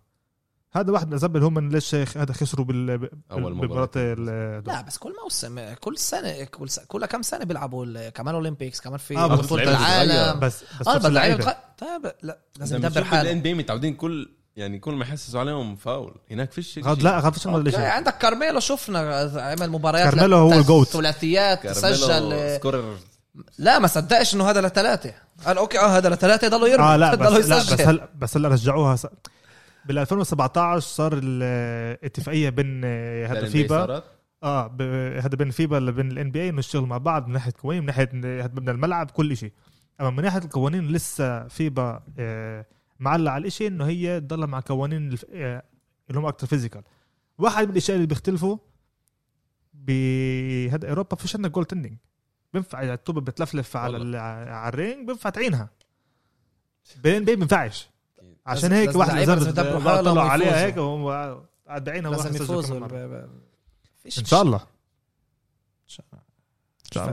[SPEAKER 3] هذا واحد من الاسباب اللي هم من ليش هذا خسروا بال بال-
[SPEAKER 2] أول مباراة.
[SPEAKER 3] بالمباراه ال-
[SPEAKER 4] لا بس كل موسم آه، كل سنه كل سنة كل كم سنه بيلعبوا ال- كمان اولمبيكس كمان في
[SPEAKER 3] آه، بس
[SPEAKER 4] بطوله
[SPEAKER 2] اللعيبة
[SPEAKER 4] العالم
[SPEAKER 3] بس بس
[SPEAKER 4] اه
[SPEAKER 3] نفس
[SPEAKER 4] بس اللعيبة
[SPEAKER 3] اللعيبة.
[SPEAKER 4] بتغ- طيب لا لازم ندبر حالك
[SPEAKER 2] الان بي متعودين كل يعني كل ما يحسسوا عليهم فاول هناك فيش هيك
[SPEAKER 3] غاد-
[SPEAKER 2] شيء.
[SPEAKER 3] لا غاد فيش عمل
[SPEAKER 4] أوكي،
[SPEAKER 3] شيء
[SPEAKER 4] عندك كارميلو شفنا آه، عمل مباريات
[SPEAKER 3] كارميلو
[SPEAKER 4] لا-
[SPEAKER 3] هو
[SPEAKER 4] تس-
[SPEAKER 3] الجوت.
[SPEAKER 4] ثلاثيات
[SPEAKER 2] كارميلو
[SPEAKER 4] سجل آه،
[SPEAKER 2] سكورر
[SPEAKER 4] لا ما صدقش انه هذا لثلاثه قال اوكي اه هذا لثلاثه ضلوا يرمي
[SPEAKER 3] اه لا
[SPEAKER 4] ضلوا
[SPEAKER 3] بس لا بس
[SPEAKER 4] يسجل
[SPEAKER 3] هلا بس هلا رجعوها س... بال 2017 صار الاتفاقيه بين آه، هذا
[SPEAKER 2] ال NBA
[SPEAKER 3] فيبا
[SPEAKER 2] صارت.
[SPEAKER 3] اه ب- هذا بين فيبا اللي بين الان بي اي انه الشغل مع بعض من ناحيه قوانين من ناحيه إن هاد بدنا الملعب كل شيء اما من ناحيه القوانين لسه فيبا آه، معلق على الشيء انه هي تضلها مع قوانين الف- آه، اللي هم اكثر فيزيكال واحد من الاشياء اللي بيختلفوا بهذا اوروبا فيش عندنا جول تندنج بينفع الطوبه بتلفلف على
[SPEAKER 2] والله.
[SPEAKER 3] ال- على الرينج بينفع تعينها بين بين بينفعش عشان
[SPEAKER 4] لازم-
[SPEAKER 3] هيك
[SPEAKER 4] لازم
[SPEAKER 3] واحد
[SPEAKER 4] لعيبة
[SPEAKER 3] زرز
[SPEAKER 4] لازم يدبروا
[SPEAKER 3] بقى
[SPEAKER 4] حالهم
[SPEAKER 3] طلعوا عليها
[SPEAKER 4] ويفوزوا.
[SPEAKER 3] هيك وهم قاعد بعينها
[SPEAKER 4] لازم
[SPEAKER 3] واحد سجل
[SPEAKER 4] يفوزوا
[SPEAKER 3] كمان مرة.
[SPEAKER 4] ب- ب- فيش-
[SPEAKER 3] ان شاء الله
[SPEAKER 1] شاء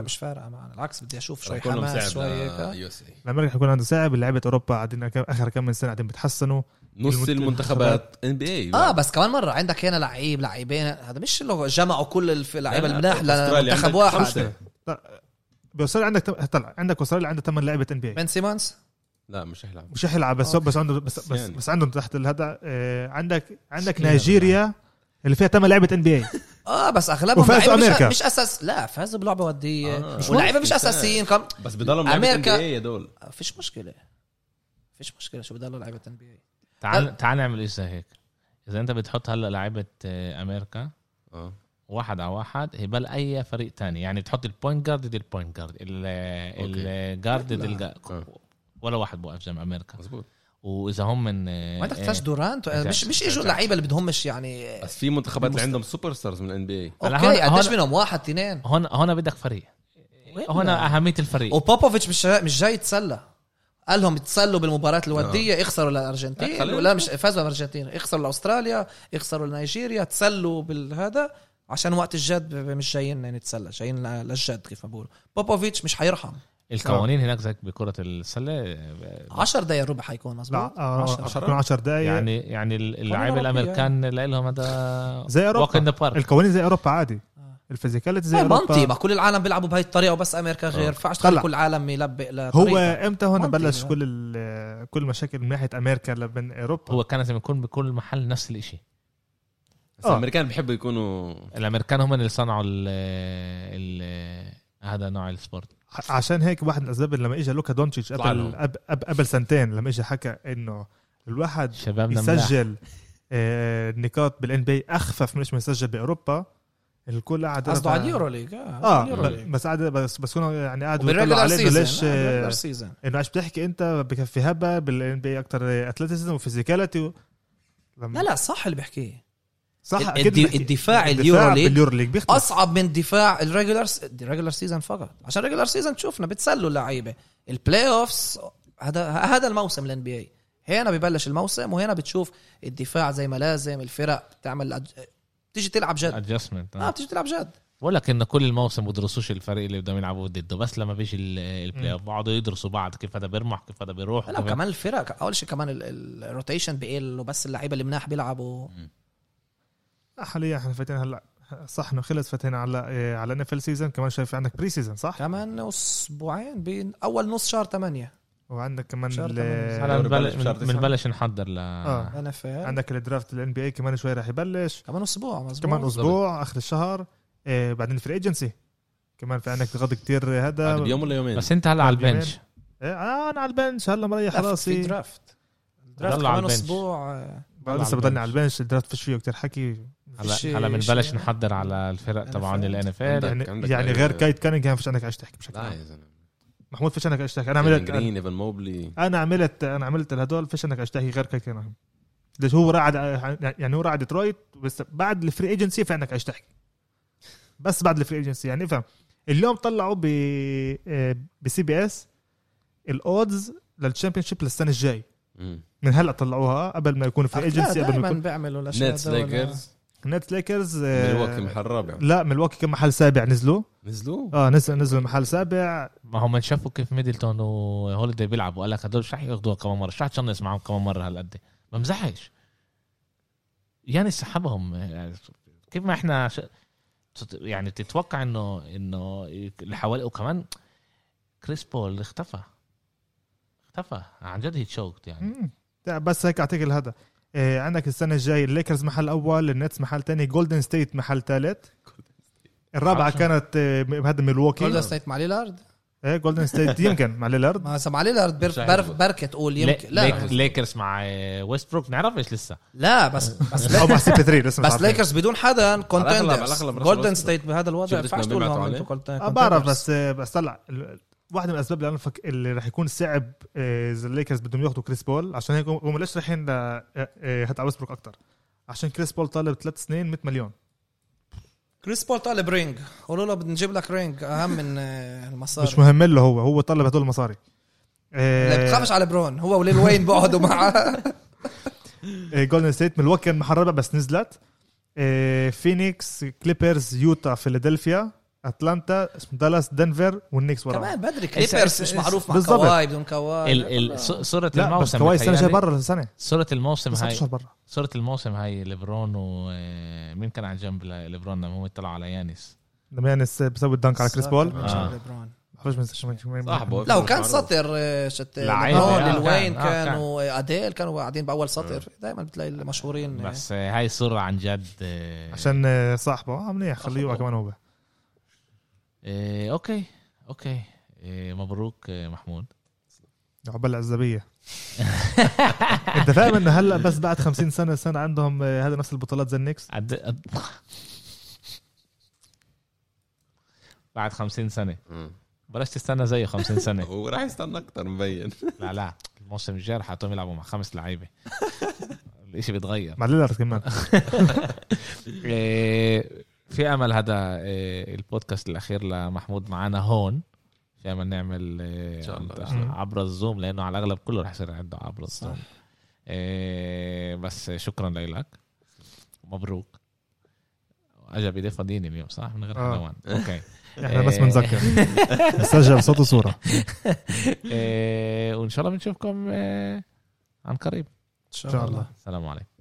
[SPEAKER 4] مش فارقه معنا العكس بدي اشوف
[SPEAKER 2] رح
[SPEAKER 4] شوي
[SPEAKER 2] يكون لهم
[SPEAKER 4] حماس
[SPEAKER 2] سعر آه،
[SPEAKER 4] شوي هيك
[SPEAKER 2] يو اس اي
[SPEAKER 3] الامريكا حيكون عنده صعب لعيبه اوروبا قاعدين أك- اخر كم من سنه قاعدين بيتحسنوا
[SPEAKER 2] نص
[SPEAKER 3] المنت-
[SPEAKER 2] المنتخبات ان بي اي
[SPEAKER 4] اه بس كمان مره عندك هنا لعيب لعيبين هذا مش اللي هو جمعوا كل الف- اللعيبه المناح لمنتخب واحد
[SPEAKER 3] باستراليا عندك تم- طلع عندك استراليا عنده ثمان لعيبه ان بي اي
[SPEAKER 4] بن سيمونز
[SPEAKER 2] لا مش حيلعب
[SPEAKER 3] مش حيلعب بس
[SPEAKER 4] أوكي.
[SPEAKER 3] بس عنده بس بس,
[SPEAKER 2] يعني.
[SPEAKER 3] بس عندهم تحت هذا آه، عندك عندك
[SPEAKER 1] سكينة
[SPEAKER 3] نيجيريا اللي فيها ثمان لعيبه ان بي اي
[SPEAKER 4] اه بس اغلبهم
[SPEAKER 3] وفازوا
[SPEAKER 4] لعيبة مش-
[SPEAKER 3] أمريكا.
[SPEAKER 4] مش اساس لا فازوا بلعبه وديه
[SPEAKER 2] آه.
[SPEAKER 4] آه. واللعيبه مش
[SPEAKER 2] مش ممكن.
[SPEAKER 4] اساسيين كم
[SPEAKER 2] بس بضلهم لعيبه ان بي
[SPEAKER 4] أمريكا.
[SPEAKER 2] اي هدول
[SPEAKER 4] فيش مشكله فيش مشكله شو بضلوا لعيبه ان بي
[SPEAKER 1] تعال تعال نعمل ايش زي هيك اذا انت بتحط هلا لعيبه آه، امريكا
[SPEAKER 2] اه
[SPEAKER 1] واحد على واحد هبال اي فريق تاني يعني بتحط البوينت جارد ضد البوينت جارد الجارد ضد
[SPEAKER 2] آه.
[SPEAKER 1] الجا- ولا واحد بوقف جنب امريكا
[SPEAKER 2] مزبوط
[SPEAKER 1] واذا هم من آه،
[SPEAKER 4] ما عندك تلاش دورانت
[SPEAKER 1] إيه.
[SPEAKER 4] مش مش اجوا اللعيبه اللي بدهمش يعني
[SPEAKER 2] بس آه، في منتخبات اللي عندهم سوبر ستارز من الان بي اي
[SPEAKER 1] هلا هون-
[SPEAKER 4] اوكي قديش
[SPEAKER 1] هون-
[SPEAKER 4] منهم واحد اثنين
[SPEAKER 1] هون هون بدك فريق
[SPEAKER 4] وين
[SPEAKER 1] هون
[SPEAKER 4] لا؟
[SPEAKER 1] اهميه
[SPEAKER 2] إيه.
[SPEAKER 1] الفريق
[SPEAKER 4] وبوبوفيتش مش مش جاي يتسلى قال لهم يتسلوا بالمباراة الودية يخسروا
[SPEAKER 2] لا،
[SPEAKER 4] للأرجنتين
[SPEAKER 2] آه. خلينا
[SPEAKER 4] ولا مش فازوا الأرجنتين يخسروا لأستراليا يخسروا لنيجيريا تسلوا بالهذا عشان وقت الجد ب- مش جايين نتسلى جايين ل- للجد كيف ما بقولوا بوبوفيتش مش حيرحم
[SPEAKER 1] القوانين هناك زي بكره السله آه،
[SPEAKER 4] 10 دقايق ربع حيكون
[SPEAKER 3] لا
[SPEAKER 4] مظبوط
[SPEAKER 3] آه،
[SPEAKER 4] عشرة.
[SPEAKER 3] حيكون 10 دقائق يعني
[SPEAKER 1] يعني يعني اللعيبه
[SPEAKER 4] أوروبية.
[SPEAKER 1] الامريكان لهم هذا
[SPEAKER 3] آه. زي
[SPEAKER 1] واك ان
[SPEAKER 3] أوروبا.
[SPEAKER 1] ذا بارك
[SPEAKER 3] القوانين زي اوروبا عادي
[SPEAKER 4] آه.
[SPEAKER 3] الفيزيكاليتي زي
[SPEAKER 4] ما منطقي
[SPEAKER 3] اوروبا
[SPEAKER 4] ما كل العالم بيلعبوا بهي الطريقة وبس أمريكا غير
[SPEAKER 2] آه.
[SPEAKER 4] ينفعش تخلي
[SPEAKER 3] طلع.
[SPEAKER 4] كل العالم يلبق لطريقة
[SPEAKER 3] هو امتى هون
[SPEAKER 4] منطقي
[SPEAKER 3] بلش
[SPEAKER 4] يعني.
[SPEAKER 3] كل ال- كل مشاكل من ناحيه امريكا من اوروبا
[SPEAKER 1] هو كان لازم يكون بكل محل نفس الشيء
[SPEAKER 2] بس
[SPEAKER 3] آه.
[SPEAKER 2] الامريكان بيحبوا يكونوا
[SPEAKER 1] الامريكان هم اللي صنعوا ال ال هذا نوع السبورت
[SPEAKER 3] ع- عشان هيك واحد من الاسباب لما اجى لوكا دونتشيتش
[SPEAKER 2] طلع لهم.
[SPEAKER 3] قبل قبل- قبل سنتين لما اجى حكى انه الواحد
[SPEAKER 1] شبابنا ملاح.
[SPEAKER 3] يسجل آه، نقاط بالان بي اخفف من ايش ما يسجل باوروبا الكل قاعد
[SPEAKER 4] قصده
[SPEAKER 3] يرفع-
[SPEAKER 4] على اليورو ليج اه
[SPEAKER 3] اه
[SPEAKER 4] اليورو ليج.
[SPEAKER 3] ب- بس قاعد بس بس كنا يعني قاعدوا يطلعوا
[SPEAKER 4] وبالريجولار
[SPEAKER 3] عليه إنه
[SPEAKER 4] سيزون
[SPEAKER 3] ليش
[SPEAKER 4] آه،
[SPEAKER 3] آه،
[SPEAKER 4] بالريجولار سيزون
[SPEAKER 3] انه ايش بتحكي انت بكفي هبه بالان بي اكثر اتلتيزم وفيزيكاليتي و... لما-
[SPEAKER 4] لا لا صح اللي بحكيه
[SPEAKER 3] صح
[SPEAKER 4] الد-
[SPEAKER 3] أكيد بحكي.
[SPEAKER 4] الدفاع اليورو ليج
[SPEAKER 3] باليورو ليج بيختلف
[SPEAKER 4] اصعب من دفاع الريجولار الريجولار سيزون فقط عشان الريجولار سيزون شفنا بتسلوا اللعيبه البلاي اوفس هذا هذا الموسم الان بي اي هنا ببلش الموسم وهنا بتشوف الدفاع زي ما لازم الفرق بتعمل أج- بتيجي تلعب جد اه
[SPEAKER 3] آه.
[SPEAKER 1] ادجستمنت
[SPEAKER 4] بتيجي تلعب جد
[SPEAKER 1] بقول لك ان كل الموسم بدرسوش الفريق اللي بدهم يلعبوا ضده بس لما بيجي ال- البلاي اوف بقعدوا يدرسوا بعض كيف هذا بيرمح كيف هذا بيروح
[SPEAKER 4] لا
[SPEAKER 1] كيف-
[SPEAKER 4] كمان الفرق اول شيء كمان الروتيشن بقل وبس اللعيبه اللي مناح بيلعبوا
[SPEAKER 3] آه، حاليا احنا فاتين هلا صح انه خلص فاتين على إيه، على ان اف ال سيزون كمان شايف عندك بري سيزون صح؟
[SPEAKER 4] كمان اسبوعين بين اول نص شهر 8
[SPEAKER 3] وعندك كمان
[SPEAKER 4] شهر
[SPEAKER 3] ال-
[SPEAKER 4] تمام.
[SPEAKER 1] هلا
[SPEAKER 2] دوري
[SPEAKER 1] بنبلش
[SPEAKER 2] بلش بشهر تسعة.
[SPEAKER 1] بنبلش نحضر ل
[SPEAKER 3] آه.
[SPEAKER 4] ان اف
[SPEAKER 3] عندك الدرافت الان بي اي كمان شوي راح يبلش
[SPEAKER 4] كمان اسبوع مظبوط
[SPEAKER 3] كمان اسبوع اخر الشهر إيه، بعدين فري ايجنسي كمان في عندك غض كتير آه، هذا
[SPEAKER 2] بعد بيوم ولا يومين
[SPEAKER 1] بس انت هلا على
[SPEAKER 3] يومين.
[SPEAKER 1] البنش
[SPEAKER 3] إيه، آه، انا على البنش هلا مريح
[SPEAKER 4] لا، في
[SPEAKER 3] راسي
[SPEAKER 4] درافت درافت
[SPEAKER 1] ضل على
[SPEAKER 4] كمان
[SPEAKER 1] البنش.
[SPEAKER 4] اسبوع آه،
[SPEAKER 3] بعد لسه
[SPEAKER 1] على
[SPEAKER 3] بضلني على
[SPEAKER 1] البنش.
[SPEAKER 3] البنش الدرافت فيش فيه كتير حكي
[SPEAKER 4] فيش
[SPEAKER 1] هلا هلا بنبلش
[SPEAKER 4] شيء.
[SPEAKER 1] نحضر على الفرق تبعون الان اف ال
[SPEAKER 3] يعني
[SPEAKER 2] عندك
[SPEAKER 3] يعني
[SPEAKER 2] لعيبة-
[SPEAKER 3] غير كايت كانينغهام فيش عندك ايش تحكي بشكل
[SPEAKER 2] لا يعني.
[SPEAKER 3] عام
[SPEAKER 2] يا زلمه
[SPEAKER 3] محمود فيش عندك ايش تحكي انا
[SPEAKER 2] ايفن
[SPEAKER 3] عملت
[SPEAKER 2] جرين ايفن موبلي
[SPEAKER 3] انا عملت انا عملت الهدول فيش عندك اشتهي غير كاي كانهم ليش هو راعد يعني هو راعد ديترويت بس بعد الفري ايجنسي في عندك اشتهي بس بعد الفري ايجنسي يعني افهم اليوم طلعوا ب بسي بي اس الاودز للتشامبيون شيب للسنه الجاي
[SPEAKER 2] مم.
[SPEAKER 3] من هلا طلعوها قبل ما يكون
[SPEAKER 4] لا،
[SPEAKER 3] الفري ايجنسي قبل ما
[SPEAKER 4] دايماً
[SPEAKER 3] يكون
[SPEAKER 4] بيعملوا الاشياء
[SPEAKER 2] نتس
[SPEAKER 4] ده ولا-
[SPEAKER 2] ليكرز
[SPEAKER 3] نت ليكرز آه،
[SPEAKER 2] ميلواكي محل رابع
[SPEAKER 3] لا ملواكي كان محل سابع نزلوا
[SPEAKER 2] نزلوا
[SPEAKER 3] اه نزل نزلوا محل سابع
[SPEAKER 1] ما هم شافوا كيف ميدلتون وهوليدي بيلعبوا قال لك هدول مش رح ياخدوها كمان مره مش رح تشمس معهم كمان مره هالقد ما مزحش يعني سحبهم يعني كيف ما احنا ش... تت- يعني تتوقع انه انه اللي حواليه وكمان كريس بول اختفى اختفى عن جد هي تشوكت يعني
[SPEAKER 3] مم. لا، بس هيك اعتقد هذا إيه عندك السنه الجايه الليكرز محل اول النتس محل تاني جولدن ستيت محل ثالث الرابعه
[SPEAKER 1] عشان.
[SPEAKER 3] كانت إيه، م- هذا
[SPEAKER 4] جولدن
[SPEAKER 3] ميلواكي
[SPEAKER 4] ستيت مع ليلارد
[SPEAKER 3] إيه جولدن ستيت يمكن مع ليلارد
[SPEAKER 4] ما هسا مع ليلارد بر-
[SPEAKER 2] مش عارف.
[SPEAKER 4] بر- بركة تقول يمكن
[SPEAKER 1] لا
[SPEAKER 4] لا
[SPEAKER 1] ليكرز مع آه، ويست بروك نعرفش لسه
[SPEAKER 4] لا بس بس
[SPEAKER 3] او مع 63 لسه مش
[SPEAKER 4] بس
[SPEAKER 3] عارفين.
[SPEAKER 4] ليكرز بدون حدا
[SPEAKER 2] الأغلب- على
[SPEAKER 4] كونتندرز
[SPEAKER 2] الأغلب راسل
[SPEAKER 4] جولدن
[SPEAKER 2] ويستبروك.
[SPEAKER 4] ستيت بهذا الوضع
[SPEAKER 2] شفت
[SPEAKER 4] ما
[SPEAKER 2] لما
[SPEAKER 4] ينفعش تقول
[SPEAKER 2] بيبعتوا
[SPEAKER 4] لهم
[SPEAKER 2] عليه؟
[SPEAKER 4] انتوا
[SPEAKER 3] آه
[SPEAKER 4] كونتندرز
[SPEAKER 3] بعرف بس إيه، بس طلع ال- واحد من الاسباب اللي انا فك... اللي رح يكون صعب إيه، اذا الليكرز بدهم ياخذوا كريس بول عشان هيك هم ليش رايحين ل إيه، هتع ويسبروك اكثر عشان كريس بول طالب ثلاث سنين 100 مليون
[SPEAKER 4] كريس بول طالب رينج قولوا له بدنا نجيب لك رينج اهم من آه،
[SPEAKER 3] مش
[SPEAKER 4] المصاري
[SPEAKER 3] مهم له هو هو طلب هدول المصاري
[SPEAKER 4] لا
[SPEAKER 3] إيه،
[SPEAKER 4] بتخافش على برون هو وليل وين بيقعدوا معه
[SPEAKER 3] جولدن ستيت ملواكي آه، كان محل رابع بس نزلت إيه، فينيكس كليبرز يوتا فيلادلفيا اتلانتا اسمه دالاس دنفر والنيكس ورا
[SPEAKER 4] كمان بدري
[SPEAKER 1] إس-
[SPEAKER 4] كليبرز مش
[SPEAKER 1] إس-
[SPEAKER 4] معروف مع
[SPEAKER 3] بالضبط.
[SPEAKER 4] كواي بدون كواي
[SPEAKER 1] ال- ال- ص- صورة
[SPEAKER 3] لا بس
[SPEAKER 1] الموسم
[SPEAKER 3] كواي السنه جاي
[SPEAKER 1] بتهيألي-
[SPEAKER 3] برا السنه
[SPEAKER 1] صورة الموسم
[SPEAKER 3] بس
[SPEAKER 1] هاي
[SPEAKER 3] اشهر برا
[SPEAKER 1] صورة الموسم هاي ليبرون ومين كان على جنب ل- ليبرون لما هم اطلعوا على يانس
[SPEAKER 3] لما يانس بسوي الدنك على كريس بول
[SPEAKER 1] آه.
[SPEAKER 3] بعرفش من شو
[SPEAKER 2] صاحبه
[SPEAKER 4] لو كان
[SPEAKER 2] معروف.
[SPEAKER 4] سطر آه، شت
[SPEAKER 1] لعيبة،
[SPEAKER 4] لبرون
[SPEAKER 1] آه،
[SPEAKER 4] الوين
[SPEAKER 1] كان، آه، كان.
[SPEAKER 4] كانوا آه، اديل كانوا قاعدين باول سطر
[SPEAKER 2] آه.
[SPEAKER 4] دائما بتلاقي المشهورين آه،
[SPEAKER 1] بس آه، هاي صورة عن جد آه،
[SPEAKER 3] عشان آه، صاحبه اه منيح خليه يوقع
[SPEAKER 1] صاحبه.
[SPEAKER 3] كمان هو
[SPEAKER 1] آه، اوكي اوكي آه، مبروك آه، محمود
[SPEAKER 3] عقبال العزبيه انت فاهم انه هلا بس بعد 50 سنه سنه عندهم آه، هذا نفس البطولات زي النكس
[SPEAKER 1] عد... عد... بعد خمسين سنة
[SPEAKER 2] مم.
[SPEAKER 1] بلاش تستنى زيه خمسين سنة
[SPEAKER 2] آه. هو راح يستنى اكثر مبين
[SPEAKER 1] لا لا الموسم الجاي رح حطهم يلعبوا مع خمس لعيبة الاشي بيتغير
[SPEAKER 3] مع ليلارد كمان
[SPEAKER 1] إيه، في امل هذا إيه، البودكاست الاخير لمحمود معنا هون في امل نعمل إيه،
[SPEAKER 2] إن شاء الله.
[SPEAKER 1] عن- عبر الزوم لانه على الاغلب كله رح يصير عنده عبر
[SPEAKER 4] صح.
[SPEAKER 1] الزوم إيه، بس شكرا لك مبروك اجى بايديه فاضيين اليوم صح من غير
[SPEAKER 3] آه.
[SPEAKER 1] حلوان اوكي
[SPEAKER 3] احنا بس بنذكر إيه. نسجل صوت وصوره
[SPEAKER 1] إيه، وان شاء آه، الله بنشوفكم إيه، عن قريب
[SPEAKER 4] ان شاء
[SPEAKER 3] شاء
[SPEAKER 4] الله
[SPEAKER 3] الله.
[SPEAKER 1] السلام عليكم